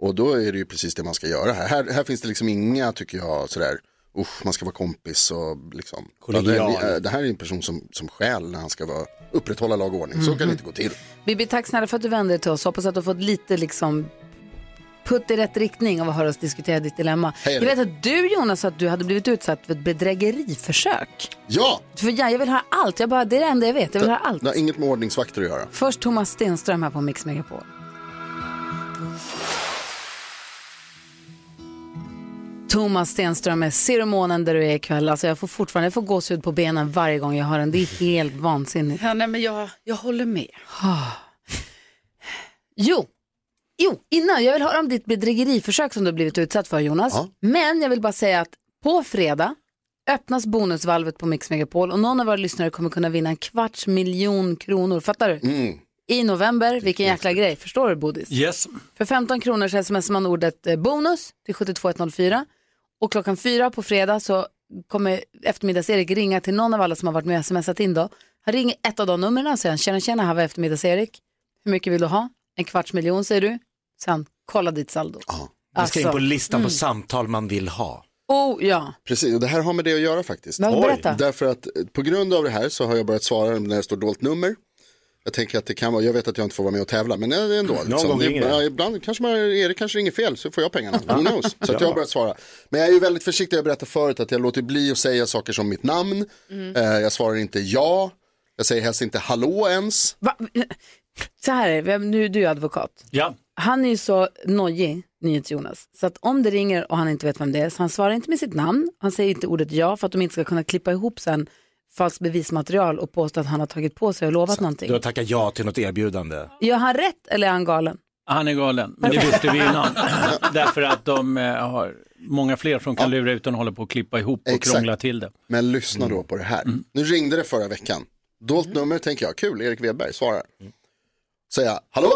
Och då är det ju precis det man ska göra här. Här, här finns det liksom inga, tycker jag, sådär, usch, man ska vara kompis och liksom.
Kollegial.
Ja, det, det här är en person som, som skäl när han ska vara, upprätthålla lag och ordning. Så
Mhm.
kan det inte gå till.
Bibi, tack snälla för att du vände dig till oss. Hoppas att du har fått lite liksom putt i rätt riktning av att höra oss diskutera ditt dilemma.
Hej,
jag
Elin.
vet att du Jonas sa att du hade blivit utsatt för ett bedrägeriförsök.
Ja!
För ja, jag vill höra allt, jag bara, det är det enda jag vet. Jag vill höra allt.
Det har inget med ordningsvakter att göra.
Först Thomas Stenström här på Mix Megapol. Thomas Stenström är ceremonen där du är ikväll. Alltså jag får fortfarande jag får gåshud på benen varje gång jag hör den. Det är helt vansinnigt.
Ja, nej, men jag, jag håller med.
Jo. jo, innan jag vill höra om ditt bedrägeriförsök som du har blivit utsatt för Jonas.
Ja.
Men jag vill bara säga att på fredag öppnas bonusvalvet på Mix Megapol och någon av våra lyssnare kommer kunna vinna en kvarts miljon kronor. Fattar du?
Mm.
I november, vilken jäkla grej. Förstår du Bodis?
Yes.
För 15 kronor så smsar man ordet eh, bonus till 72104 och klockan fyra på fredag så kommer eftermiddags-Erik ringa till någon av alla som har varit med och smsat in då. Han ringer ett av de numren och säger han, tjena tjena, här var eftermiddags-Erik. Hur mycket vill du ha? En kvarts miljon säger du. Sen, kolla ditt saldo. Alltså, mm.
Det ska in på listan på samtal man vill ha.
Oh ja.
Precis, och det här har med det att göra faktiskt.
Men berätta.
Därför att eh, på grund av det här så har jag börjat svara när det står dolt nummer. Jag tänker att det kan vara, jag vet att jag inte får vara med och tävla, men eh, ändå.
Någon gång
Det-
ringer det.
ja, ibland kanske man, Erik kanske ringer fel så får jag pengarna. Who knows? Så att jag
Ja.
har börjat svara. Men jag är ju väldigt försiktig, jag berättade förut att jag låter bli att säga saker som mitt namn.
Mm.
Eh, jag svarar inte ja. Jag säger helst inte hallå ens.
Så här är det, vem- nu du är advokat.
Ja.
Han är ju så nojig, NyhetsJonas, så att om det ringer och han inte vet vem det är, så han svarar inte med sitt namn, han säger inte ordet ja för att de inte ska kunna klippa ihop sen falskt bevismaterial och påstå att han har tagit på sig och lovat någonting.
Du har tackat ja till något erbjudande.
Gör han rätt eller är han galen?
Han är galen, men det visste vi innan. Därför att de eh, har många fler som kan lura utan att hålla på att klippa ihop och
Exakt.
krångla till det.
Men lyssna
Mm.
då på det här. Nu ringde det förra veckan. Dolt nummer tänker jag, kul, Erik Wedberg svarar.
Mm.
Säger jag, hallå?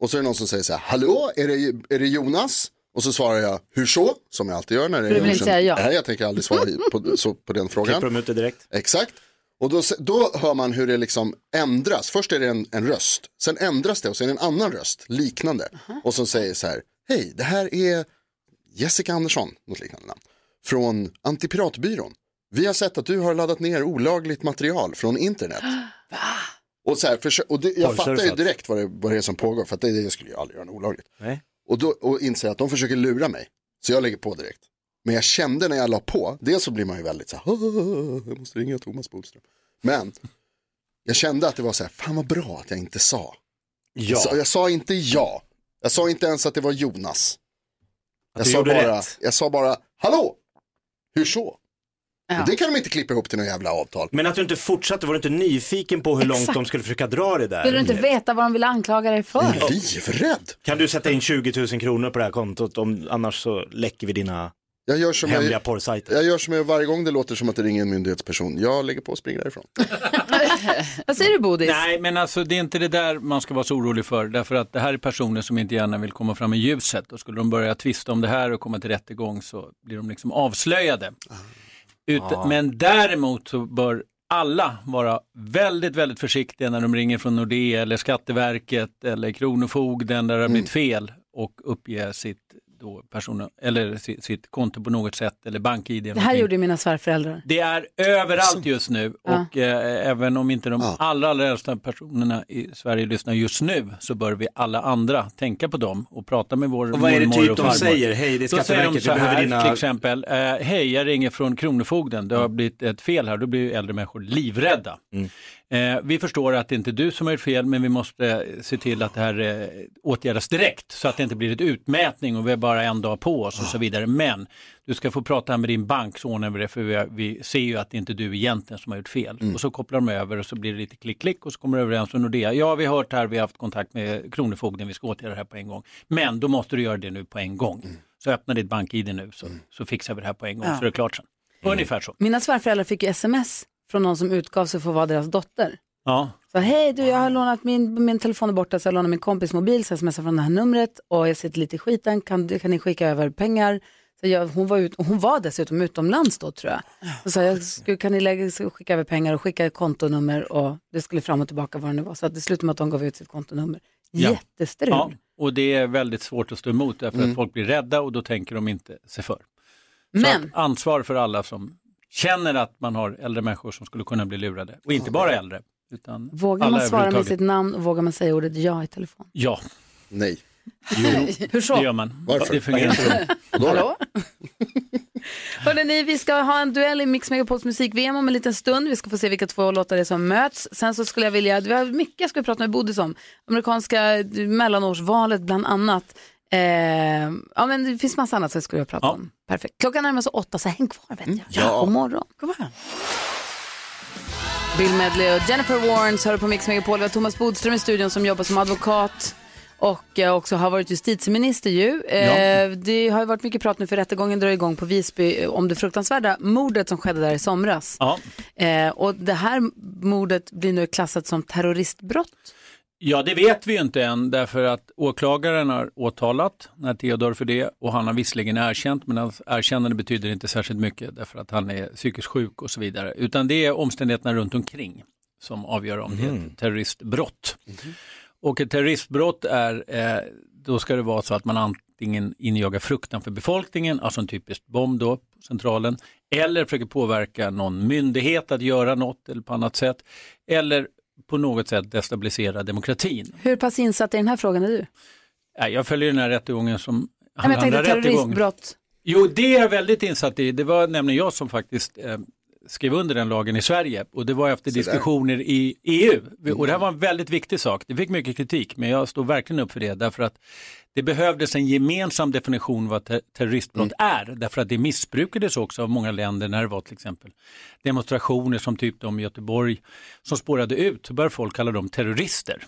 Och så är det någon som säger så här, hallå, är det, är det Jonas? Och så svarar jag, hur så? Som jag alltid gör när det
För du
är
vill inte säga ja.
Nej, jag tänker aldrig svara på, så, på den frågan.
Klipper de ut det direkt?
Exakt. Och då, se- då hör man hur det liksom ändras. Först är det en, en röst, sen ändras det och sen är det en annan röst, liknande. Och som säger så här, hej, det här är Jessica Andersson, något liknande namn, från Antipiratbyrån. Vi har sett att du har laddat ner olagligt material från internet. Och, så här, försö- och det, jag fattar ju
Porrsurfat.
direkt vad det, vad det är som pågår, för att det, det skulle jag aldrig göra något olagligt.
Nej.
Och då och inser jag att de försöker lura mig, så jag lägger på direkt. Men jag kände när jag la på, dels så blir man ju väldigt så här, "Åh, jag måste ringa Thomas Bodström. Men jag kände att det var så här, fan vad bra att jag inte sa.
Ja.
Jag sa, jag sa inte ja, jag sa inte ens att det var Jonas. Jag
du
sa,
gjorde
bara,
rätt.
jag sa bara, hallå, hur så? Och Det kan de inte klippa ihop till något jävla avtal.
Men att du inte fortsatte, var du inte nyfiken på hur långt
Exakt.
de skulle försöka dra det där?
Vill du inte veta vad de vill anklaga dig för?
Livrädd!
Kan du sätta in 20 000 kronor på det här kontot, om, annars så läcker vi dina
Jag gör som
hemliga
jag,
porrsajter.
jag gör som jag varje gång det låter som att det ringer en myndighetsperson. Jag lägger på och springer därifrån.
Vad säger du Bodis?
Nej, men alltså det är inte det där man ska vara så orolig för. Därför att det här är personer som inte gärna vill komma fram i ljuset. Och skulle de börja tvista om det här och komma till rättegång så blir de liksom avslöjade. Ut,
Ah.
Men däremot så bör alla vara väldigt, väldigt försiktiga när de ringer från Nordea eller Skatteverket eller Kronofogden där det har blivit fel och uppge sitt, då person, eller sitt, sitt konto på något sätt eller bank-id. eller
Det här
någonting.
gjorde mina svärföräldrar.
Det är överallt just nu
Ja.
och eh, även om inte de allra, allra äldsta personerna i Sverige lyssnar just nu så bör vi alla andra tänka på dem och prata med vår
Och vad är det
mormor
typ
och
de
farmor.
säger? Hej, det är
Då säger de
Skatteverket,
så
vi behöver
här
dina- Mm.
till exempel, eh, hej jag ringer från Kronofogden, det har blivit ett fel här, då blir ju äldre människor livrädda. Eh, vi förstår att det inte är du som har gjort fel men vi måste eh, se till att det här eh, åtgärdas direkt så att det inte blir ett utmätning och vi har bara en dag på oss och så vidare. Men du ska få prata med din bank så ordnar vi det för vi, vi ser ju att det inte är du egentligen som har gjort fel. Och så kopplar de över och så blir det lite klick-klick och så kommer de överens med Nordea. Ja, vi har hört här, vi har haft kontakt med Kronofogden, vi ska åtgärda det här på en gång. Men då måste du göra det nu på en gång. Så öppna ditt bank-id nu så, så fixar vi det här på en gång
Ja.
så är det klart sen. Ungefär så.
Mina svärföräldrar fick ju sms från någon som utgav sig för att vara deras dotter.
Ja.
Så hej du, jag har lånat min, min telefon är borta så jag lånar min kompis mobil så jag smsar från det här numret och jag sitter lite i skiten, kan, kan ni skicka över pengar? Så jag, hon, var ut, och hon var dessutom utomlands då tror jag. Så sa jag, "Skulle- kan ni lägga, ska skicka över pengar och skicka kontonummer och det skulle fram och tillbaka vad det nu var. Så att det slutade med att de gav ut sitt kontonummer.
Ja.
Jättestrul.
Ja, och det är väldigt svårt att stå emot därför
Mm.
att folk blir rädda och då tänker de inte sig för.
Men-
Så att ansvar för alla som känner att man har äldre människor som skulle kunna bli lurade och inte bara äldre. Utan
Vågar
alla
man svara med
överhuvudtaget.
sitt namn och vågar man säga ordet ja i telefon?
Ja.
Nej.
Hur så?
Det gör man.
Varför?
Det fungerar inte.
Hallå? Hörrni, ni, vi ska ha en duell i Mix Megapols musik-VM om en liten stund. Vi ska få se vilka två låtar det är som möts. Sen så skulle jag vilja, vi har mycket jag skulle prata med Bodis om. Amerikanska eh, mellanårsvalet bland annat. Eh, ja, men det finns massa annat som jag skulle vilja prata om. Perfekt. Klockan närmar sig åtta, så häng kvar vet jag.
Ja.
God morgon. Bill Medley och Jennifer Warnes hör på Mix Megapol. Vi har Thomas Bodström i studion som jobbar som advokat och eh, också har varit justitieminister ju. Eh, Det har ju varit mycket prat nu för rättegången drar igång på Visby eh, om det fruktansvärda mordet som skedde där i somras.
Ja.
Eh, och det här mordet blir nu klassat som terroristbrott.
Ja, det vet vi ju inte än därför att åklagaren har åtalat när Theodor för det och han har visserligen erkänt men hans erkännande betyder inte särskilt mycket därför att han är psykiskt sjuk och så vidare. Utan det är omständigheterna runt omkring som avgör om det är
Mhm.
ett terroristbrott. Och ett terroristbrott är, eh, då ska det vara så att man antingen injagar fruktan för befolkningen, alltså en typisk bomb då, på centralen, eller försöker påverka någon myndighet att göra något eller på annat sätt, eller på något sätt destabilisera demokratin.
Hur pass insatt i den här frågan är du?
Nej, Jag följer den här rättegången som
Nej, men jag tänkte
andra rättegången.
terroristbrott.
Jo, det är jag väldigt insatt i. Det var nämligen jag som faktiskt eh, skrev under den lagen i Sverige och det var efter diskussioner i EU. Och det här var en väldigt viktig sak. Det fick mycket kritik, men jag står verkligen upp för det därför att det behövdes en gemensam definition vad ter- terroristbrott är, därför att det missbrukades också av många länder när det var till exempel demonstrationer som typ de i Göteborg som spårade ut, så började folk kalla dem terrorister.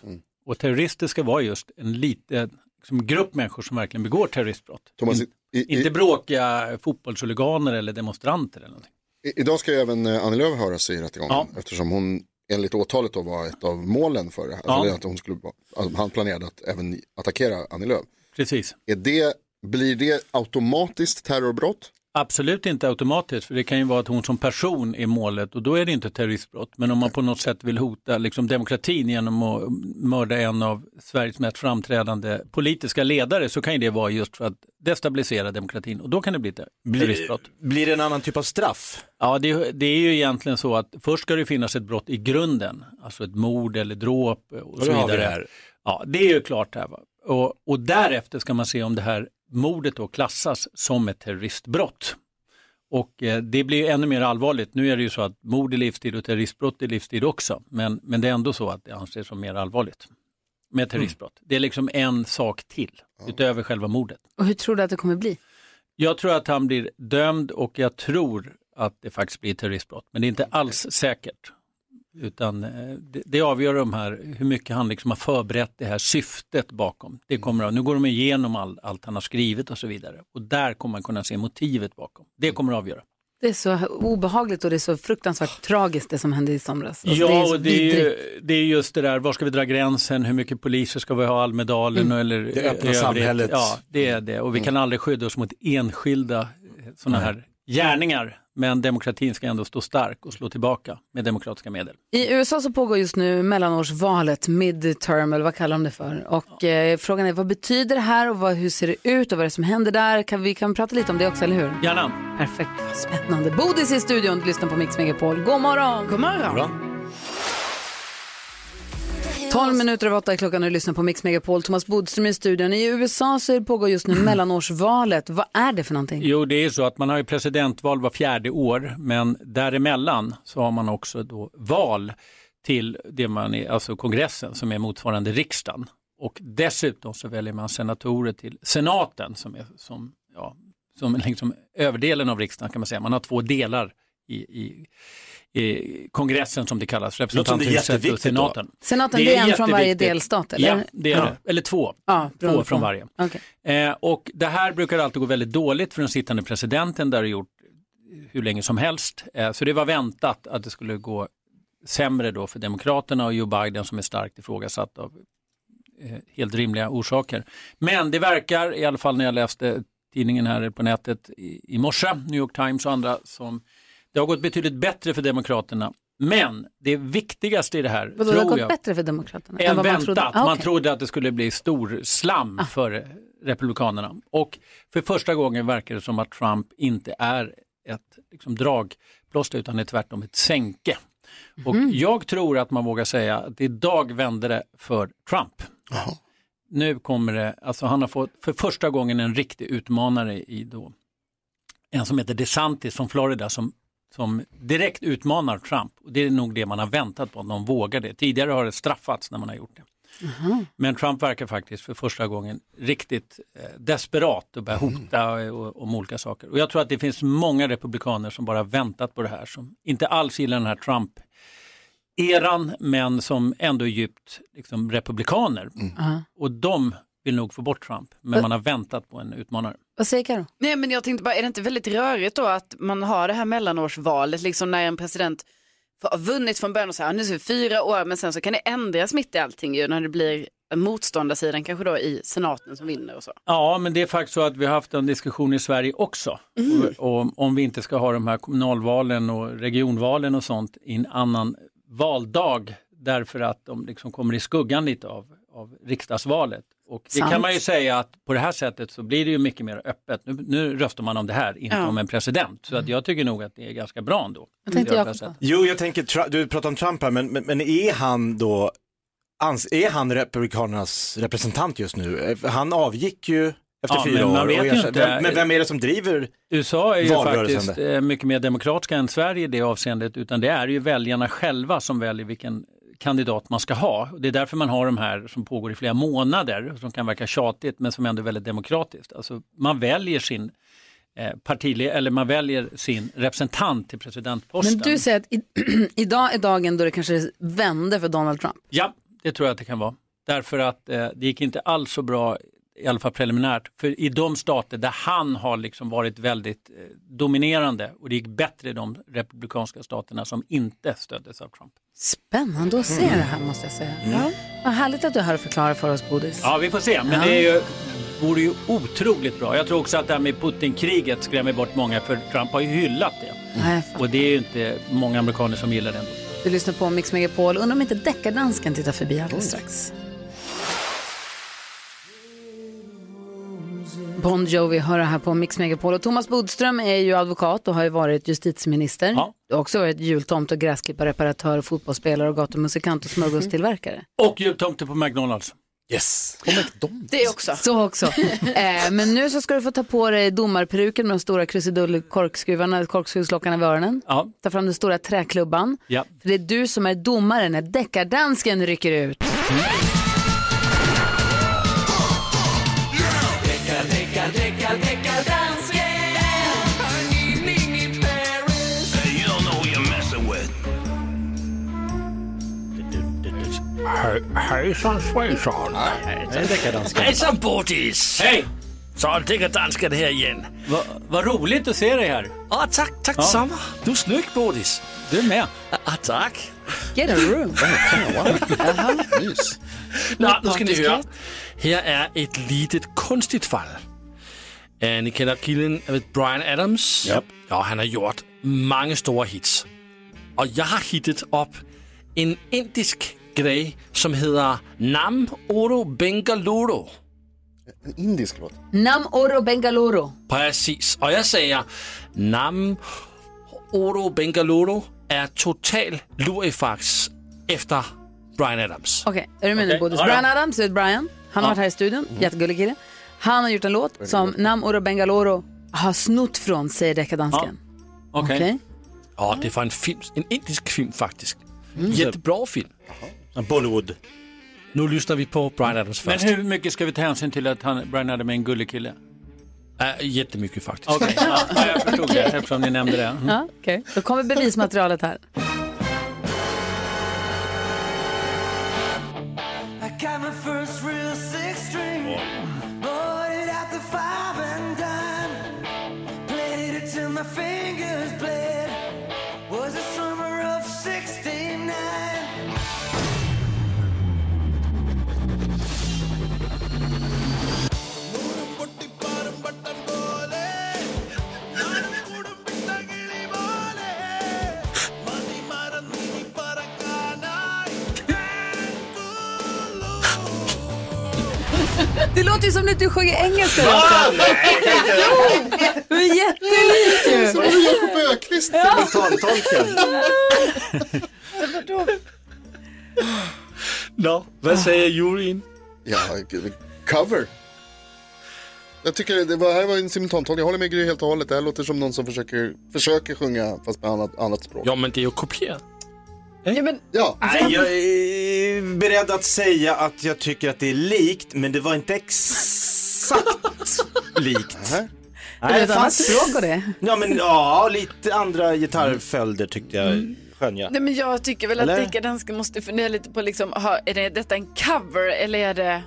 Och terrorister ska vara just en liten liksom, grupp människor som verkligen begår terroristbrott.
Thomas,
In- inte bråkiga fotbollshuliganer eller demonstranter. Eller någonting.
I, idag ska ju även eh, Annie Lööf höras i rättegången
Ja.
eftersom hon enligt åtalet då var ett av målen för det. Alltså
Ja.
eller att hon skulle, vara- alltså han planerade att även attackera Annie Lööf.
Precis.
Är det, blir det automatiskt terrorbrott?
Absolut inte automatiskt, för det kan ju vara att hon som person är målet och då är det inte terroristbrott. Men om man på något sätt vill hota liksom, demokratin genom att mörda en av Sveriges mest framträdande politiska ledare så kan ju det vara just för att destabilisera demokratin och då kan det bli ett terroristbrott.
Blir det en annan typ av straff?
Ja, det, det är ju egentligen så att först ska det finnas ett brott i grunden, alltså ett mord eller dråp och,
Och
så
då har vi
vidare.
det här.
Ja, det är ju klart här. Va? Och, och därefter ska man se om det här mordet då klassas som ett terroristbrott. Och eh, det blir ju ännu mer allvarligt. Nu är det ju så att mord är livstid och terroristbrott är livstid också. Men, men det är ändå så att det anses som mer allvarligt med terroristbrott. Det är liksom en sak till utöver själva mordet.
Och hur tror du att det kommer bli?
Jag tror att han blir dömd och jag tror att det faktiskt blir terroristbrott. Men det är inte alls säkert. Utan eh, det, det avgör de här, hur mycket han liksom har förberett det här syftet bakom. Det kommer, att- nu går de igenom all, allt han har skrivit och så vidare. Och där kommer man kunna se motivet bakom. Det kommer att avgöra.
Det är så obehagligt och det är så fruktansvärt tragiskt det som hände i somras. Alltså,
ja,
så
och det är,
vidrigt.
ju, det är just det där, var ska vi dra gränsen, hur mycket poliser ska vi ha i Almedalen
Mm.
eller
Det öppna
i övrigt?
samhället.
Ja, det är det. Och vi kan aldrig skydda oss mot enskilda sådana här gärningar. Men demokratin ska ändå stå stark och slå tillbaka med demokratiska medel.
I USA så pågår just nu mellanårsvalet, midterm eller vad kallar de det för? Och eh, frågan är vad betyder det här och vad, hur ser det ut och vad är det som händer där? Kan vi kan prata lite om det också, eller hur?
Gärna.
Perfekt, vad spännande. Bodis i studion, du lyssnar på Mix Megapol. God morgon! God morgon! 12 minuter över åtta är klockan och du lyssnar på Mix Megapol. Thomas Bodström i studion. I USA så pågår just nu mellanårsvalet. Vad är det för någonting?
Jo, det är så att man har ju presidentval var fjärde år, men däremellan så har man också då val till det man är, alltså kongressen som är motsvarande riksdagen. Och dessutom så väljer man senatorer till senaten som är som, ja, som är liksom överdelen av riksdagen kan man säga. Man har två delar i, i, i kongressen som det kallas, representanthuset och
jätteviktigt
senaten.
då.
Senaten, det är en från varje
jätteviktigt.
delstat, eller?
Ja, det är
Ja.
det. Eller två.
Ja, beroende
två från
på.
varje.
Okej.
Eh, och det här brukar alltid gå väldigt dåligt för den sittande presidenten, där det har gjort hur länge som helst. Eh, så det var väntat att det skulle gå sämre då för Demokraterna och Joe Biden som är starkt ifrågasatt av eh, helt rimliga orsaker. Men det verkar, i alla fall när jag läste tidningen här på nätet i, i morse, New York Times och andra, som det har gått betydligt bättre för Demokraterna. Men det viktigaste i det här,
Vadå, det har
tror
gått
jag,
bättre för Demokraterna?
än
vad man
väntat.
trodde? Ah,
Man
okej. Ah.
trodde att det skulle bli stor slam för Republikanerna. Och för första gången verkar det som att Trump inte är ett liksom, dragplåster utan är tvärtom ett sänke. Och
Mhm.
jag tror att man vågar säga att idag vände det för Trump. Nu kommer det, alltså han har fått för första gången en riktig utmanare i då, en som heter DeSantis från Florida som, som direkt utmanar Trump. Och det är nog det man har väntat på, att någon vågar det. Tidigare har det straffats när man har gjort det. Men Trump verkar faktiskt för första gången riktigt eh, desperat och börjar hota eh, och, om olika saker. Och jag tror att det finns många republikaner som bara väntat på det här, som inte alls gillar den här Trump-eran, men som ändå är djupt liksom, republikaner.
Aha.
Och de vill nog få bort Trump, men man har väntat på en utmanare.
Vad säger Karo?
Nej men jag tänkte bara, är det inte väldigt rörigt då att man har det här mellanårsvalet, liksom när en president har vunnit från början och så här, nu är det fyra år, men sen så kan det ändras mitt i allting ju när det blir motståndarsidan kanske då i senaten som vinner och så.
Ja, men det är faktiskt så att vi har haft en diskussion i Sverige också.
Mm.
Och, och om vi inte ska ha de här kommunalvalen och regionvalen och sånt i en annan valdag därför att de liksom kommer i skuggan lite av, av riksdagsvalet. Och det
Sant.
kan man ju säga att på det här sättet så blir det ju mycket mer öppet. Nu, nu röstar man om det här, inte
Ja.
om en president. Så att jag tycker nog att det är ganska bra ändå.
Vad tänkte
Det
jag
rösta
på?
sättet.
Jo, jag tänker, Tra- du pratar om Trump här, men, men, men är han då, ans- är han republikanernas representant just nu? Eh, Han avgick ju efter
Ja,
fyra
men
år.
man vet
och
ju
ersatte-
inte.
Vem, men vem är det som driver
USA är ju
valrörelsen
faktiskt
där?
eh, mycket mer demokratiska än Sverige i det avseendet, utan det är ju väljarna själva som väljer vilken kandidat man ska ha. Det är därför man har de här som pågår i flera månader, som kan verka tjatigt men som ändå är väldigt demokratiskt. Alltså, man väljer sin eh, partiled- eller man väljer sin representant till presidentposten.
Men du säger att i, idag är dagen då det kanske vände för Donald Trump.
Ja, det tror jag att det kan vara. Därför att eh, det gick inte alls så bra, i alla fall preliminärt, för i de stater där han har liksom varit väldigt eh, dominerande och det gick bättre i de republikanska staterna som inte stöddes av Trump.
Spännande att se det här måste jag säga.
Mm.
Ja. Vad härligt att du är här och förklarar för oss Bodis.
Ja, vi får se, men
Ja.
det är ju, vore ju otroligt bra. Jag tror också att det här med Putin-kriget skrämmer bort många, för Trump har ju hyllat det.
Nej,
Och det är ju inte många amerikaner som gillar det ändå.
Du lyssnar på Mix Megapol. Undrar om inte deckardansken tittar förbi alldeles strax. Bon Jovi hör det här på Mix Megapol. Och Thomas Bodström är ju advokat och har ju varit justitieminister. Du har också varit jultomt och gräsklipparreparatör, och fotbollsspelare och gatumusikant och smörgåstillverkare.
Och jultomte på McDonalds.
Yes.
Det också.
Så också. eh, men nu så ska du få ta på dig domarperuken med de stora krusidullkorkskruvarna, korkskruvslockarna vid öronen.
Ja.
Ta fram den stora träklubban.
Ja.
För det är du som är domare när deckardansken rycker ut.
Hejsan svejsan.
Hej, deckardansken.
Hejsan Bodis.
Hej!
Så deckardansken här igen.
Vad roligt att se dig här.
Ja, tack, tack detsamma. Du är snygg Bodis.
Du är med.
Ja, tack.
Get a room.
Nå, nu ska ni höra. Här är ett litet konstigt fall. Äh, ni känner killen äh, Brian Adams. Ja, han har gjort många stora hits. Och jag har hittat upp en indisk grej som heter Nam Oro Bengaluru. En indisk låt?
Nam Oro Bengaluru.
Precis. Och jag säger Nam Oro Bengaluru är total lurifax efter Brian Adams.
Okej, är du med nu
Okej,
Bodis?
ja, ja.
Brian Adams, det är Brian. Han har varit här i studion, jättegullig kille. Han har gjort en låt som Nam Oro Bengaloro har snott från, säger deckardansken.
Okej.
Okej.
Ja, det var en film, en indisk film faktiskt.
Mm.
Jättebra film.
Bollywood.
Nu lyssnar vi på Brian Adams
Men
först.
hur mycket ska vi ta hänsyn till att han, Brian Adam är en gullig kille?
Äh, jättemycket faktiskt.
Okej, ja, jag förstod det eftersom ni nämnde det. Mm.
Ja, okej. Då kommer bevismaterialet här.
I got my first real six string. Bought it at the five and dime. Played it till my fingers bled. Was the summer of 69.
Det låter ju som att du sjunger engelska.
Ah,
Lasse.
nej!
Jo, Du är jättelik ju.
Som en Jakob Öqvist.
Simultantolken.
Nå, vad säger juryn?
Ja, cover. Jag tycker det var, här var en simultantolkning. Jag håller med Gry helt och hållet. Det här låter som någon som försöker, försöker sjunga fast med annat, annat språk.
Ja, men det är ju kopierat.
Mm.
Ja, men,
ja.
Nej, jag är beredd att säga att jag tycker att det är likt, men det var inte exakt likt.
Är det ett annat
fanns-
språk och det?
Ja, men ja, lite andra gitarrföljder tyckte jag skönja.
Nej, men jag tycker väl
Eller?
att deckardansken måste fundera lite på liksom, ha, är det, detta en cover eller är det...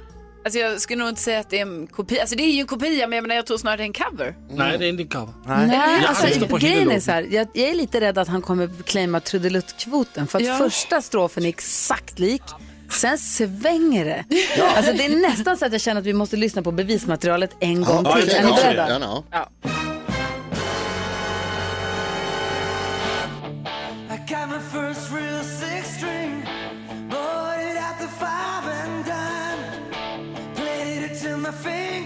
Alltså jag skulle nog inte säga att det är en kopia. Alltså det är ju en kopia men jag menar jag tror snarare det är en cover.
Nej, det är inte en cover.
Nej,
Jag lyssnar
alltså,
på
grejen är
hela
så här, jag, jag är lite rädd att han kommer claima trudeluttkvoten för att
Ja.
första strofen är exakt lik, sen svänger det. Alltså, det är nästan så att jag känner att vi måste lyssna på bevismaterialet en gång
Ja,
till.
okej,
Är ni
ja,
beredda?
gärna, ja.
I got my first real six string. Bought it at the five and dime. Played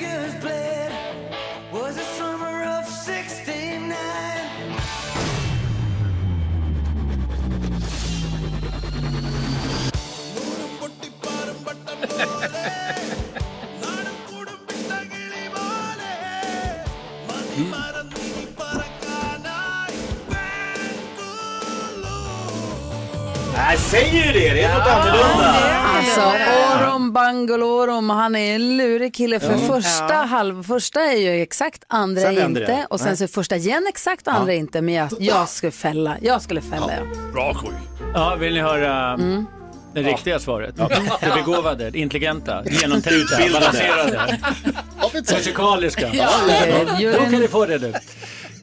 Jag säger ju det, det är något annorlunda.
Alltså, Orom Bangalorom, han är en lurig kille för
Ja.
första halv, första är ju exakt, andra
Sen
är
vänder
inte
det.
och sen
Nej.
så är första igen exakt och andra
Ja.
inte. Men jag, jag skulle fälla, jag skulle fälla. Ja.
Bra Gry.
Ja, vill ni höra
Mm.
det riktiga svaret? Det begåvade, det intelligenta, genomtänkta,
Utbildade.
balanserade, musikaliska.
Ja,
det
Då kan ni få det nu.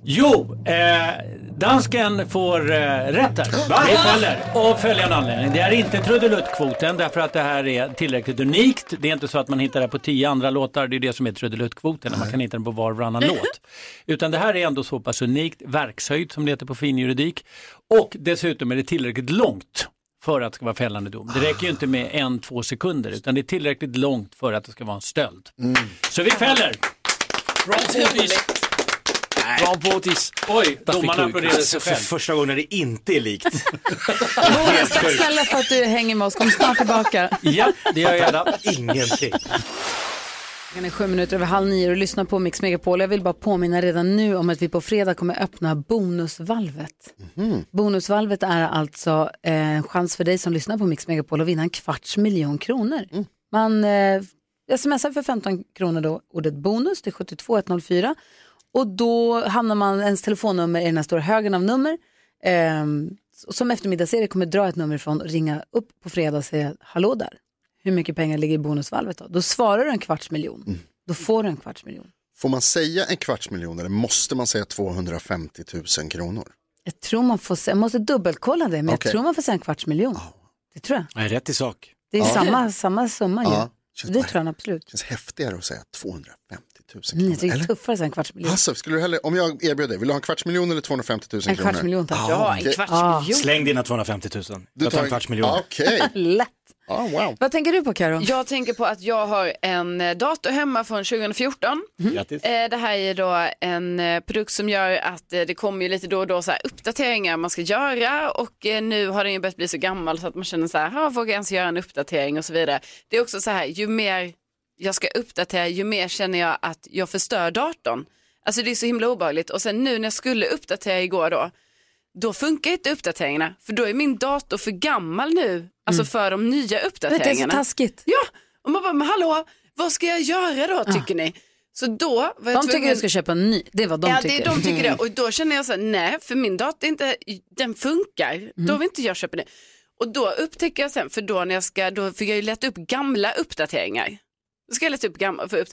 Jo, eh, dansken får eh, rätt
Va?
här. Det faller av följande anledning. Det är inte trudeluttkvoten därför att det här är tillräckligt unikt. Det är inte så att man hittar det här på tio andra låtar. Det är det som är trudeluttkvoten, när man kan hitta den på var och varannan låt. Utan det här är ändå så pass unikt, verkshöjd som det heter på fin juridik. Och dessutom är det tillräckligt långt för att det ska vara fällande dom. Det räcker ju inte med en, två sekunder utan det är tillräckligt långt för att det ska vara en stöld. Så vi fäller!
Bra Bodis! Bra Bodis!
Oj,
Där fick
domarna
du-
applåderade sig
För
själv.
första gången när det inte är likt.
Jag ska snälla för att du hänger med oss, kom snart tillbaka.
Ja, det gör jag gärna.
Ingenting.
Klockan är sju minuter över halv nio och du lyssnar på Mix Megapol. Jag vill bara påminna redan nu om att vi på fredag kommer öppna bonusvalvet. Bonusvalvet är alltså eh, en chans för dig som lyssnar på Mix Megapol att vinna en kvarts miljon kronor. Man eh, smsar för 15 kronor då ordet bonus till 72104 och då hamnar man, ens telefonnummer i den här stora högen av nummer. Eh, som eftermiddagsserie kommer dra ett nummer ifrån och ringa upp på fredag och säga hallå där. Hur mycket pengar ligger i bonusvalvet då? Då svarar du en kvarts miljon. Då får du en kvarts miljon.
Får man säga en kvarts miljon eller måste man säga 250 000 kronor?
Jag tror man får se, jag måste dubbelkolla det, men
Okej.
jag tror man får säga en kvarts miljon. Det tror jag.
Nej, rätt i sak.
Det är
Ja.
samma, samma summa ju.
Ja.
Så Det tror jag absolut.
känns häftigare att säga 250 000
Mm,
kronor.
jag tycker det är
eller?
tuffare att säga en kvarts miljon.
Hasse, skulle du hellre, om jag erbjöd dig, vill du ha en kvarts miljon eller 250 000
En
kronor?
kvarts miljon, tack.
Ja,
en
okej.
kvarts Ah. miljon.
Släng dina 250 000. Jag tar en kvarts miljon.
Ja, Okej.
Lätt.
wow.
Vad tänker du på Karo?
Jag tänker på att jag har en eh, dator hemma från 2014.
Mhm.
Grattis.
Eh, Det här är då en eh, produkt som gör att eh, det kommer ju lite då och då så här uppdateringar man ska göra och eh, nu har den ju börjat bli så gammal så att man känner så här, "Ha, vågar jag ens göra en uppdatering och så vidare. Det är också så här, ju mer jag ska uppdatera, ju mer känner jag att jag förstör datorn. Alltså det är så himla obehagligt och sen nu när jag skulle uppdatera igår då, då funkar inte uppdateringarna för då är min dator för gammal nu, alltså för de nya
Vet, det är Mm. så
uppdateringarna.
taskigt.
Ja, och man bara, men hallå, vad ska jag göra då tycker ni? Så då var jag
Ah. De tycker
tvungen-
du ska köpa en ny. Det är vad de
ja,
tycker. Mm.
Det, de tycker det. Och då känner jag så här, nej, för min dator är inte, den funkar.
Mm.
Då vill inte jag köpa det. Och då upptäcker jag sen, för då när jag ska, då fick jag ju leta upp gamla uppdateringar. Då ska jag leta upp gamla, för upp,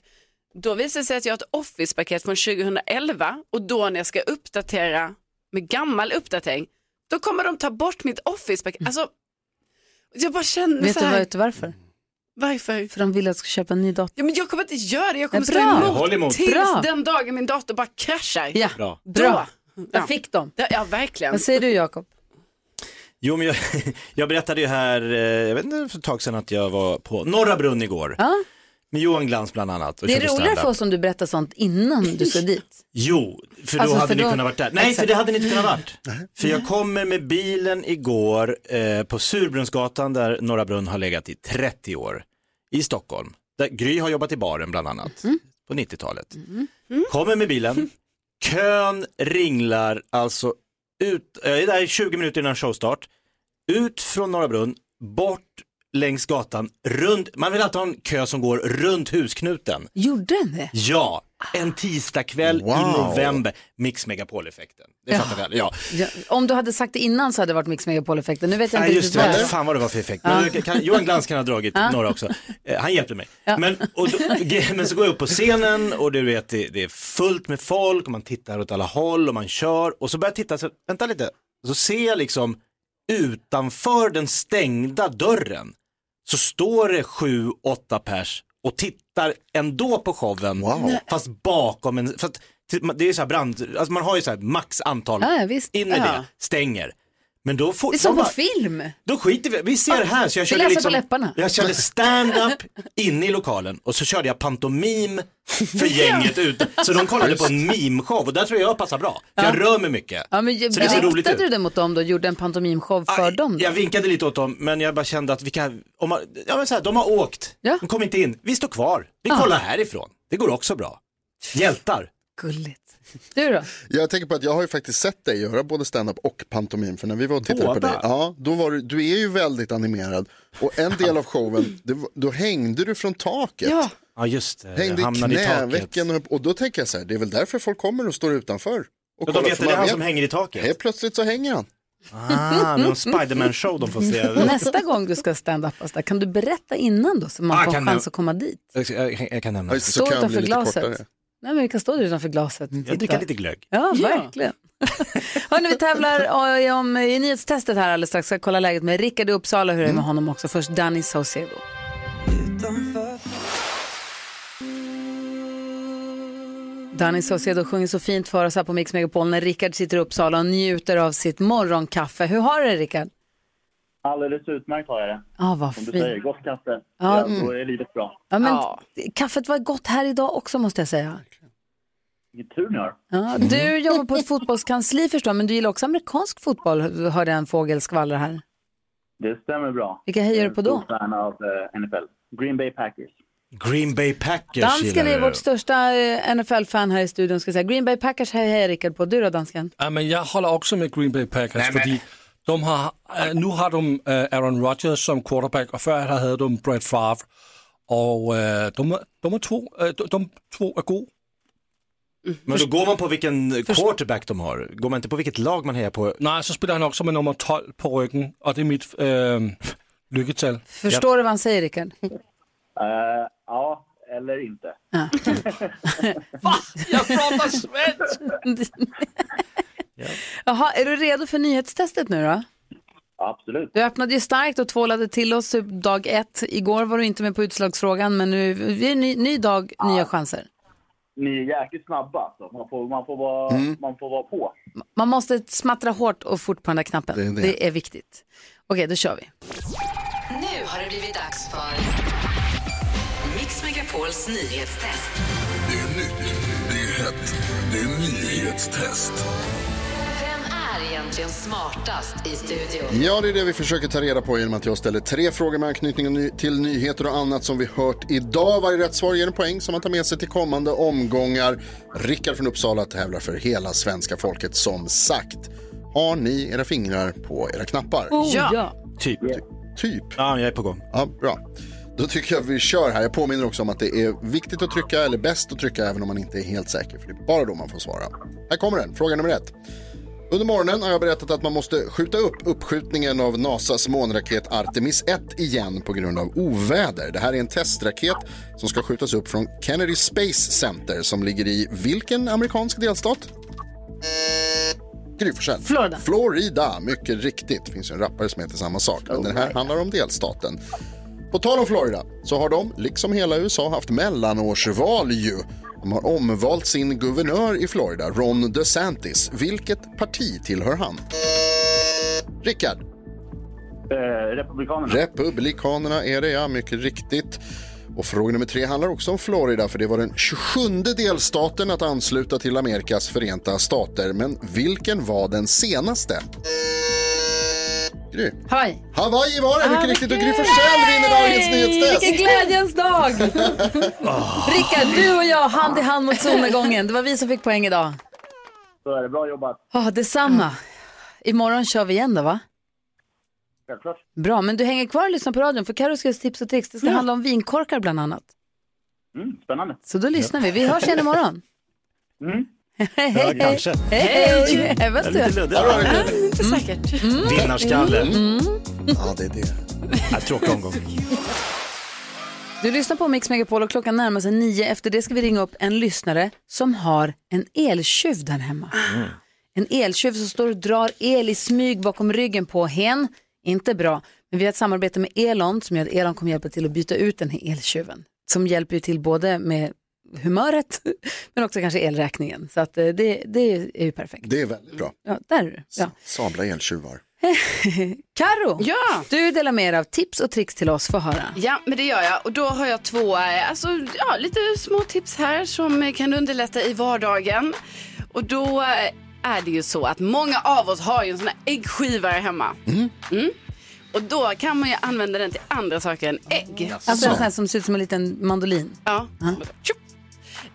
då visar det sig att jag har ett Office-paket från 2011 och då när jag ska uppdatera med gammal uppdatering, då kommer de ta bort mitt Office-paket. Alltså, jag bara känner
Mm. Vet
så
du,
här,
vad, vet du varför?
Varför?
För de vill att du ska köpa en ny dator.
ja, men jag kommer inte göra det, jag kommer
Ja, bra.
stå emot
Håll emot.
tills
Bra.
den dagen min dator bara kraschar.
Ja,
Bra.
bra.
Då.
Jag fick dem.
Ja, ja verkligen.
Vad säger du Jakob?
Jo, men jag, jag berättade ju här, eh, jag vet inte, för ett tag sedan att jag var på Norra Brunn igår.
Ja.
Med Johan Glans bland annat. Och
Det är
körde
roligare
stand-up.
för oss om du berättar sånt innan du ska dit.
Jo, för då
Alltså, för
hade
då-
ni kunnat varit där. Nej, för
Exakt.
det hade ni inte kunnat varit. För jag kommer med bilen igår eh, på Surbrunnsgatan där Norra Brunn har legat i 30 år i Stockholm. Där Gry har jobbat i baren bland annat
Mm.
på 90-talet. Kommer med bilen, kön ringlar alltså ut, jag är där i 20 minuter innan showstart, ut från Norra Brunn, bort längs gatan, runt, man vill alltid ha en kö som går runt husknuten.
Gjorde den det?
Ja, en tisdagkväll i
Wow.
november. Mix Megapol-effekten. Det
Ja.
fattar väl, ja.
Ja, om du hade sagt det innan så hade det varit Mix Megapol-effekten. Nu vet jag
Nej,
inte
just
riktigt vad
det,
det var.
fan vad det var för effekt. Men
Ja.
jag kan, Johan Glans kan ha dragit
Ja.
några också. Eh, Han hjälpte mig.
Ja.
Men, och då, men så går jag upp på scenen och du vet det, det är fullt med folk och man tittar åt alla håll och man kör och så börjar jag titta, så, vänta lite, så ser jag liksom utanför den stängda dörren så står det sju, åtta pers och tittar ändå på showen fast bakom en, fast det är så här brand, alltså man har ju så här max antal,
Ja, ja, visst.
in med
Ja.
det, stänger. Men då får,
Det är som
de
på
bara-
film.
då skiter vi vi ser här. Så jag
Det
körde
läser
liksom,
på läpparna.
Jag körde stand-up inne i lokalen och så körde jag pantomim för gänget ut. Så de kollade på en mimshow och där tror jag jag passar bra. För Jag rör mig mycket.
Ja, men,
så det ser roligt
riktade
ut.
du det mot dem då? Gjorde en pantomimshow för dem? Då?
Jag vinkade lite åt dem men jag bara kände att vi kan, om man, ja, men så här, de har åkt, de kom inte in, vi står kvar, vi
Ja.
kollar härifrån, det går också bra. Hjältar.
Gulligt. Du då?
Jag tänker på att jag har ju faktiskt sett dig göra både stand-up och pantomim. För när vi var och tittade på
Båda?
dig, ja, då var du, du är ju väldigt animerad. Och en del av showen, det, var- då hängde du från taket.
Ja. Ja just det,
Hängde i
hamnade i taket.
knävecken och, och då tänker jag så här, det är väl därför folk kommer och står utanför. Och
Ja, de
kollar,
vet
för
att det är
man
han som hänger i taket.
Helt plötsligt så hänger han.
Ah, någon Spiderman-show de får se.
Nästa gång du ska stand-upas där, kan du berätta innan då så man
Ah,
får
kan
chans
jag-
att komma dit?
Jag, jag, jag kan nämna.
Stå utanför glaset. Nej, men vi kan stå där utanför glaset. och
Jag dricker
titta.
lite glögg.
Ja, verkligen. Hörni, vi tävlar eh, om, i nyhetstestet här alldeles strax. Ska kolla läget med Rickard i Uppsala. Hur är det
Mm.
med honom också? Först Danny Saucedo. Danny Saucedo sjunger så fint för oss här på Mix Megapol när Rickard sitter i Uppsala och njuter av sitt morgonkaffe. Hur har du det Rickard?
Alldeles utmärkt har jag det.
Ja, vad
Som du
fint.
säger, gott kaffe.
Ja,
Ja, då
mm.
är livet bra.
Ja, men Kaffet var gott här idag också måste jag säga.
Vilken tur ni har.
Ja,
Mm.
du jobbar på ett fotbollskansli förstår jag, men du gillar också amerikansk fotboll, hörde jag en fågel skvallra här.
Det stämmer bra.
Vilka hejar du på då?
Jag är en stor fan av eh, NFL. Green Bay Packers.
Green Bay Packers
Dansken
gillar
är
du.
vårt största eh, NFL-fan här i studion. Ska jag säga. Green Bay Packers hejar Rickard på. Du då dansken?
Ja, men jag håller också med Green Bay Packers, fordi de har, äh, nu har de äh, Aaron Rodgers som quarterback, och förr hade de Brett Favre. Och äh, de, är- de, är två, äh, de, de två är goda.
Men då går man på vilken quarterback de har. Går man inte på vilket lag man hejar på?
Nej, så spelar han också med nummer 12 på ryggen, och det är mitt äh, lyckotal.
Förstår du vad han säger Rickard?
Eh, ja, eller inte.
Jag pratar svensk!
Jaha, är du redo för nyhetstestet nu då?
Absolut.
Du öppnade ju starkt och tvålade till oss dag ett. Igår var du inte med på utslagsfrågan, men nu vi är en ny, ny dag, nya chanser.
Ni är jäkligt snabba alltså. Man får, man får, vara, man får vara på.
Man måste smattra hårt och fort på den där knappen.
Det är det.
är viktigt. Okej, då kör vi.
Nu har det blivit dags för Mix Megapols nyhetstest.
Det är nytt, det är hett, det är nyhetstest.
Vem är egentligen smartast i studion?
Ja, det är det vi försöker ta reda på genom att jag ställer tre frågor med anknytning och ny- till nyheter och annat som vi hört idag. Varje rätt svar ger en poäng som man tar med sig till kommande omgångar. Rickard från Uppsala tävlar för hela svenska folket som sagt. Har ni era fingrar på era knappar?
Oh, Ja. ja.
Typ. Typ? Ja, jag är på gång. Ja, bra. Då tycker jag vi kör här. Jag påminner också om att det är viktigt att trycka, eller bäst att trycka, även om man inte är helt säker. För det är bara då man får svara. Här kommer den, fråga nummer ett. Under morgonen har jag berättat att man måste skjuta upp uppskjutningen av NASAs månraket Artemis 1 igen på grund av oväder. Det här är en testraket som ska skjutas upp från Kennedy Space Center som ligger i vilken amerikansk delstat? Gry Forssell.
Florida.
Florida, mycket riktigt. Det finns ju en rappare som heter samma sak, men den här handlar om delstaten. På tal om Florida så har de, liksom hela USA, haft mellanårsval ju. De har omvalt sin guvernör i Florida, Ron DeSantis. Vilket parti tillhör han? Rickard.
Republikanerna.
Republikanerna är det, ja. Mycket riktigt. Och fråga nummer tre handlar också om Florida, för det var den 27 delstaten att ansluta till Amerikas förenta stater. Men vilken var den senaste? Gry.
Hawaii.
Hawaii var det, mycket riktigt. Och Gry
vilken-
Forssell vinner dagens
Yay!
nyhetstest.
Vilken glädjens dag! Rickard, du och jag hand i hand mot solnedgången. Det var vi som fick poäng idag.
Så är det bra jobbat.
Ja, detsamma. Imorgon kör vi igen då, va?
Självklart.
Bra, men du hänger kvar och lyssnar på radion för Carro ska ge oss tips och tricks. Det ska handla om vinkorkar bland annat.
Mm, spännande.
Så då lyssnar vi. Vi hörs igen imorgon.
Mm.
Hej, hej.
kanske.
Hej, hej.
Hej.
Även
Lite
du. Mm.
luddigt. Ja, det är
Inte
säkert.
Vinnarskalle.
Mm.
Mm. Ja, det är det.
Ja, tråkig omgång.
Du lyssnar på Mix Megapol och klockan närmar sig nio. Efter det ska vi ringa upp en lyssnare som har en eltjuv där hemma. En eltjuv som står och drar el i smyg bakom ryggen på hen. Inte bra. Men vi har ett samarbete med Elon som gör att Elon kommer hjälpa till att byta ut den här eltjuven. Som hjälper ju till både med humöret men också kanske elräkningen. Så att eh, det, det är ju perfekt.
Det är väldigt bra.
Ja, där är du. Ja.
Sabla eltjuvar.
Karo, du delar med er av tips och tricks till oss. Få höra.
Ja, men det gör jag. Och då har jag två, eh, alltså, ja, lite små tips här som eh, kan underlätta i vardagen. Och då eh, är det ju så att många av oss har ju en sån här äggskivare hemma. Mm. Och då kan man ju använda den till andra saker än ägg. Alltså.
Alltså en sån här som ser ut som en liten mandolin.
Ja.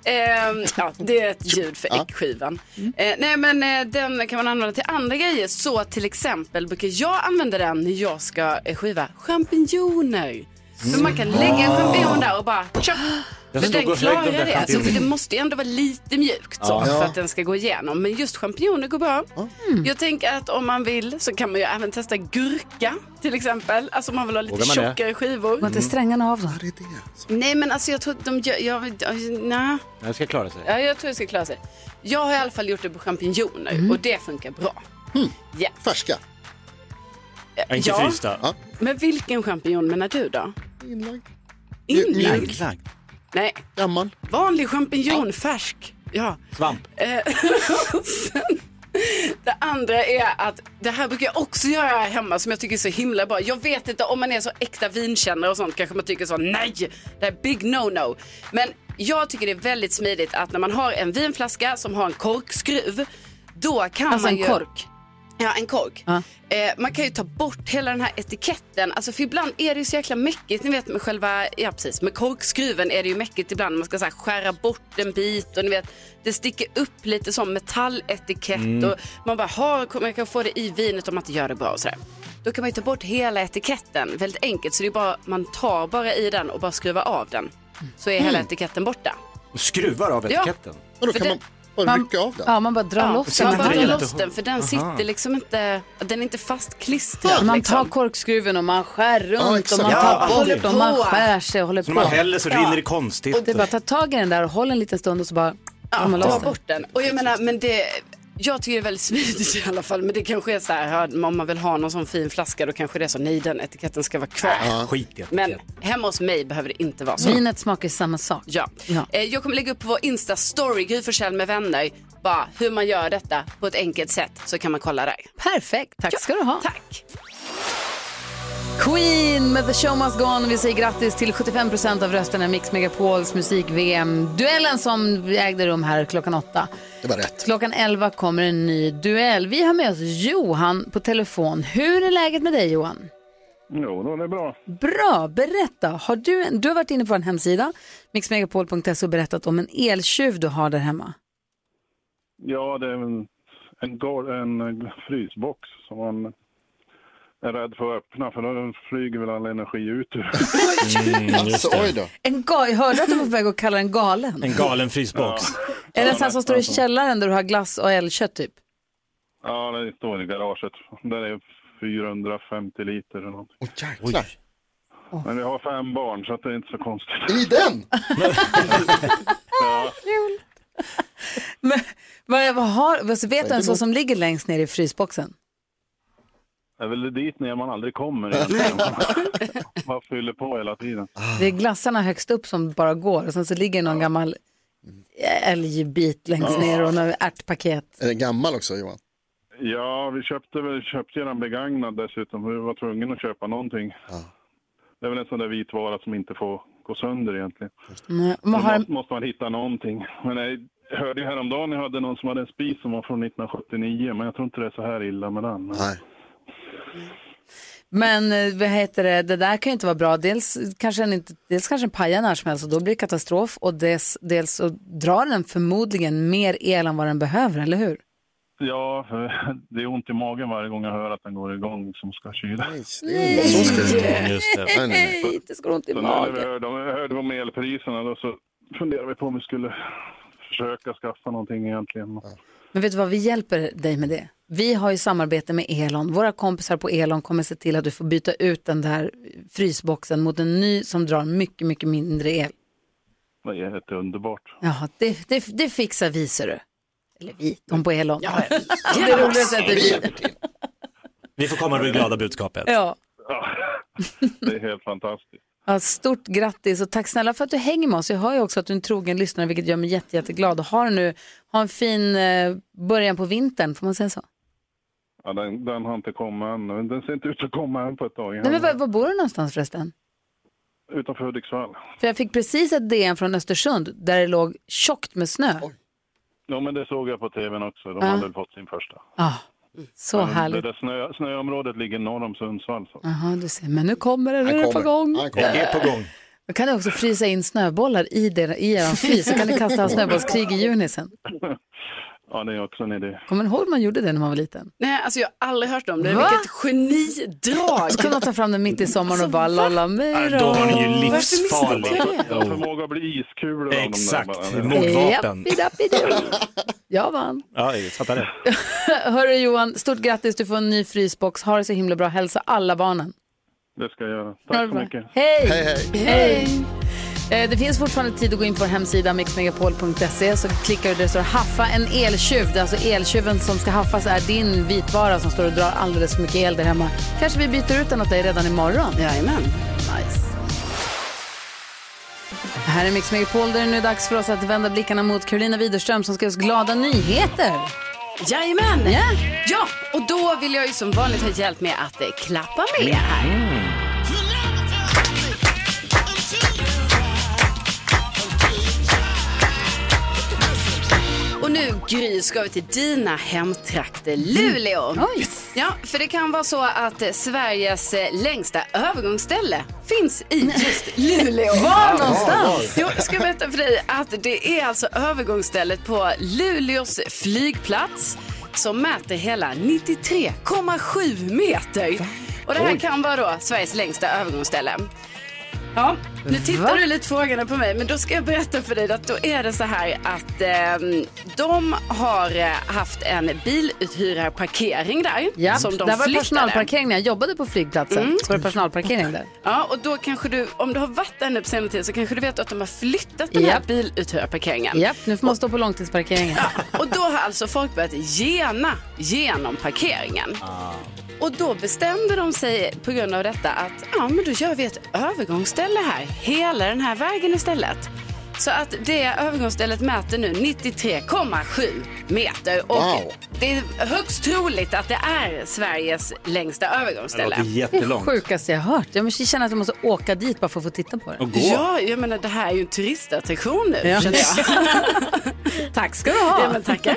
Ehm, ja, det är ett ljud för äggskivan. Eh, nej, men eh, den kan man använda till andra grejer. Så till exempel brukar jag använda den när jag ska eh, skiva champinjoner. För man kan lägga en champinjon där och bara tjoff.
Jag
Men
stod
den
och högg de
klarar
där
det. Alltså, för
champinjonerna.
det måste ju ändå vara lite mjukt så,
Ja.
för att den ska gå igenom. Men just champinjoner går bra. Mm. Jag tänker att om man vill så kan man ju även testa gurka till exempel. Alltså om man vill ha lite
Vågar man det?
tjockare skivor.
Går inte strängarna av då?
Nej men alltså jag tror att de gör, jag, jag, nej.
Den ska klara sig.
Ja, jag tror det ska klara sig. Jag har i alla fall gjort det på champinjoner och det funkar bra. Ja.
Färska?
Ja, inte
Ja.
frysta.
Men vilken champinjon menar du då?
Inlagd.
Inlagd?
Inlagd.
Nej.
Gammal.
Vanlig champinjon, färsk. Ja.
Svamp.
Eh, och sen, det andra är att det här brukar jag också göra här hemma som jag tycker är så himla bra. Jag vet inte om man är så äkta vinkännare och sånt kanske man tycker så nej, det är big no no. Men jag tycker det är väldigt smidigt att när man har en vinflaska som har en korkskruv, då kan
Alltså
man
en
ju...
kork?
Ja, en kork. Eh, man kan ju ta bort hela den här etiketten. Alltså för ibland är det ju så jäkla mäckigt. Ni vet med själva, ja precis, med korkskruven är det ju mäckigt ibland. Man ska så här skära bort en bit och ni vet, det sticker upp lite sån metalletikett
Mm.
och man bara, ha, man kan få det i vinet om man inte gör det bra och sådär. Då kan man ju ta bort hela etiketten väldigt enkelt. Så det är bara, man tar bara i den och bara skruvar av den. Så är hela
Mm.
etiketten borta.
Skruvar av
Ja.
etiketten.
För den-
Ja, man bara drar
Ja,
loss
man
den.
bara drar
inte
loss den för den
Aha.
sitter liksom inte, den är inte fastklistrad.
Man
liksom.
tar korkskruven och man skär runt
Ja, exakt.
och man
Ja,
tar
håller
bort och man
på.
skär sig och håller
Så
på.
när man häller så
Ja.
rinner det konstigt.
Och det är bara att ta tag i den där och håll en liten stund och så bara
Ja,
drar man
ta
loss den.
bort den. Och jag menar, men det, jag tycker det är väldigt smidigt i alla fall. Men det kanske är så här, ja, om man vill ha någon sån fin flaska då kanske det är så, nej den etiketten ska vara kvar.
Skit i
Men hemma hos mig behöver det inte vara så.
Vinet smakar samma sak.
Alltså. Ja. Eh, Jag kommer lägga upp på vår Insta-story, Gry Forssell med vänner, bara hur man gör detta på ett enkelt sätt så kan man kolla där.
Perfekt, tack ska du ha. Tack. Queen med The Show Must Go On. Vi säger grattis till 75 av rösterna i Mix Megapols musik-VM. Duellen som ägde rum här klockan åtta.
Det var rätt.
Klockan 11 kommer en ny duell. Vi har med oss Johan på telefon. Hur är läget med dig Johan?
Jo, då är det bra.
Bra, berätta. Har du, en, du har varit inne på en hemsida, mixmegapol.se, och berättat om en eltjuv du har där hemma.
Ja, det är en, en, gol- en frysbox som man är rädd för att öppna för då flyger väl all energi ut ur Mm,
Mm,
Alltså, oj då.
En ga- jag hörde att du var på väg att kalla den galen.
En galen frysbox.
Är det en sån här som står i
nästan så.
källaren där du har glass och älgkött typ?
Ja, det står i garaget. Där är 450 liter eller något.
Åh, jäklar.
Men vi har fem barn så att det är inte så konstigt.
I den?
ja.
Men, vad, vad har, vad, vet
är
du en
det
sån
gott?
som ligger längst ner i frysboxen?
Det är väl dit ner man aldrig kommer egentligen. man fyller på hela tiden.
Det är glassarna högst upp som bara går och sen så ligger någon gammal älgbit längst
Ja.
ner och några ärtpaket.
Är den gammal också Johan?
Ja, vi köpte, väl- köpte ju den begagnad dessutom. för Vi var tvungna att köpa någonting. Det är väl en sån där vit vara som inte får gå sönder egentligen.
Nej,
Då
man har,
måste, måste man hitta någonting. Men jag hörde ju häromdagen jag hade någon som hade en spis som var från 1979. Men jag tror inte det är så här illa med den.
Nej.
men eh, vad heter det, det där kan ju inte vara bra. Dels kanske den, inte, dels kanske den pajar när som helst och då blir det katastrof och dels, dels så drar den förmodligen mer el än vad den behöver, eller hur?
Ja, för det är ont i magen varje gång jag hör att den går igång som ska kyla.
Nej. Så ska det inte vara. Just det. Nej, nej, nej. Det ska ont i
Så nu när vi
magen.
hörde, om- hörde om elpriserna då så funderade vi på om vi skulle försöka skaffa någonting egentligen.
Men vet du vad, vi hjälper dig med det. Vi har ju samarbete med Elon. Våra kompisar på Elon kommer se till att du får byta ut den där frysboxen mot en ny som drar mycket, mycket mindre el.
Det är helt underbart.
Ja, det, det, det fixar vi, ser du. Eller vi, de på Elon. Ja,
Det roligaste är att vi...
Vi får komma med det glada budskapet.
ja.
Det är helt fantastiskt.
Ja, stort grattis och tack snälla för att du hänger med oss. Jag hör ju också att du är en trogen lyssnare, vilket gör mig jätte, jätteglad. Och har nu, ha en fin eh, början på vintern, får man säga så?
Ja, den, den har inte kommit än. Den ser inte ut att komma än på ett tag.
Nej, men var, var bor du någonstans förresten?
Utanför Hudiksvall.
För jag fick precis ett DN från Östersund där det låg tjockt med snö.
Ja, men det såg jag på tvn också. De
Ja.
hade väl fått sin första.
Ah, så
Men
härligt.
Det där snö, snöområdet ligger norr om Sundsvall. Så.
Jaha, du ser. Men nu kommer det, nu är det på gång.
Han kommer. Det är på gång.
Man kan ju också frysa in snöbollar i, der, i er frys, så kan ni kasta en snöbollskrig i juni sen.
Ja, det är också en idé.
Kommer ni ihåg man gjorde det när man var liten?
Nej, alltså jag har aldrig hört om det.
Va?
Vilket genidrag!
Så kunde man ta fram den mitt i sommaren och bara lolla mig
Äh, då var ni ju
då.
livsfarlig.
Jag har förmåga att bli iskulor
Exakt,
av de där bara.
mordvapen.
Jappidappidu. Jag vann.
Ja, jag fattar det.
Hörru Johan, stort grattis, du får en ny frysbox. Ha det så himla bra, hälsa alla barnen.
Det ska jag göra. Tack så
Bra.
mycket.
Hej! Eh, Det finns fortfarande tid att gå in på vår hemsida mixmegapol.se så klickar du där det står haffa en eltjuv. Det är Alltså eltjuven som ska haffas är din vitvara som står och drar alldeles för mycket el där hemma. Kanske vi byter ut den åt dig redan imorgon.
Jajamän.
Nice. Här är Mix Megapol där det nu är dags för oss att vända blickarna mot Carolina Widerström som ska ge oss glada nyheter.
Jajamän! Ja, och då vill jag ju som vanligt ha hjälp med att eh, klappa med här. Och nu Gry ska vi till dina hemtrakter Luleå.
Mm.
Ja, för det kan vara så att eh, Sveriges eh, längsta övergångsställe finns i just Luleå.
Var någonstans?
Jo, jag ska berätta för dig att det är alltså övergångsstället på Luleås flygplats som mäter hela 93,7 meter. Och det här
Oj.
kan vara då Sveriges längsta övergångsställe. Ja, nu tittar
Va?
du lite frågande på mig, men då ska jag berätta för dig att då är det så här att eh, de har eh, haft en biluthyrarparkering där
Ja,
som de
där var
flyttade. Mm.
personalparkering när jag jobbade på flygplatsen. Så var det personalparkering där.
Ja, och då kanske du, om du har varit där nu på senare tid så kanske du vet att de har flyttat den här
Japp.
biluthyrarparkeringen.
Japp, nu får man stå på långtidsparkeringen.
Och då har alltså folk börjat gena genom parkeringen.
Ah.
Och då bestämde de sig på grund av detta att ja, men då gör vi ett övergångsställe här, hela den här vägen istället. Så att det övergångsstället mäter nu 93,7 meter och
Wow.
det är högst troligt att det är Sveriges längsta övergångsställe.
Det är det sjukaste jag hört. Jag måste- känner att jag måste åka dit bara för att få titta på det.
Ja, jag menar det här är ju en turistattraktion nu
Ja.
känner jag.
Tack ska du ha.
Ja, men tackar.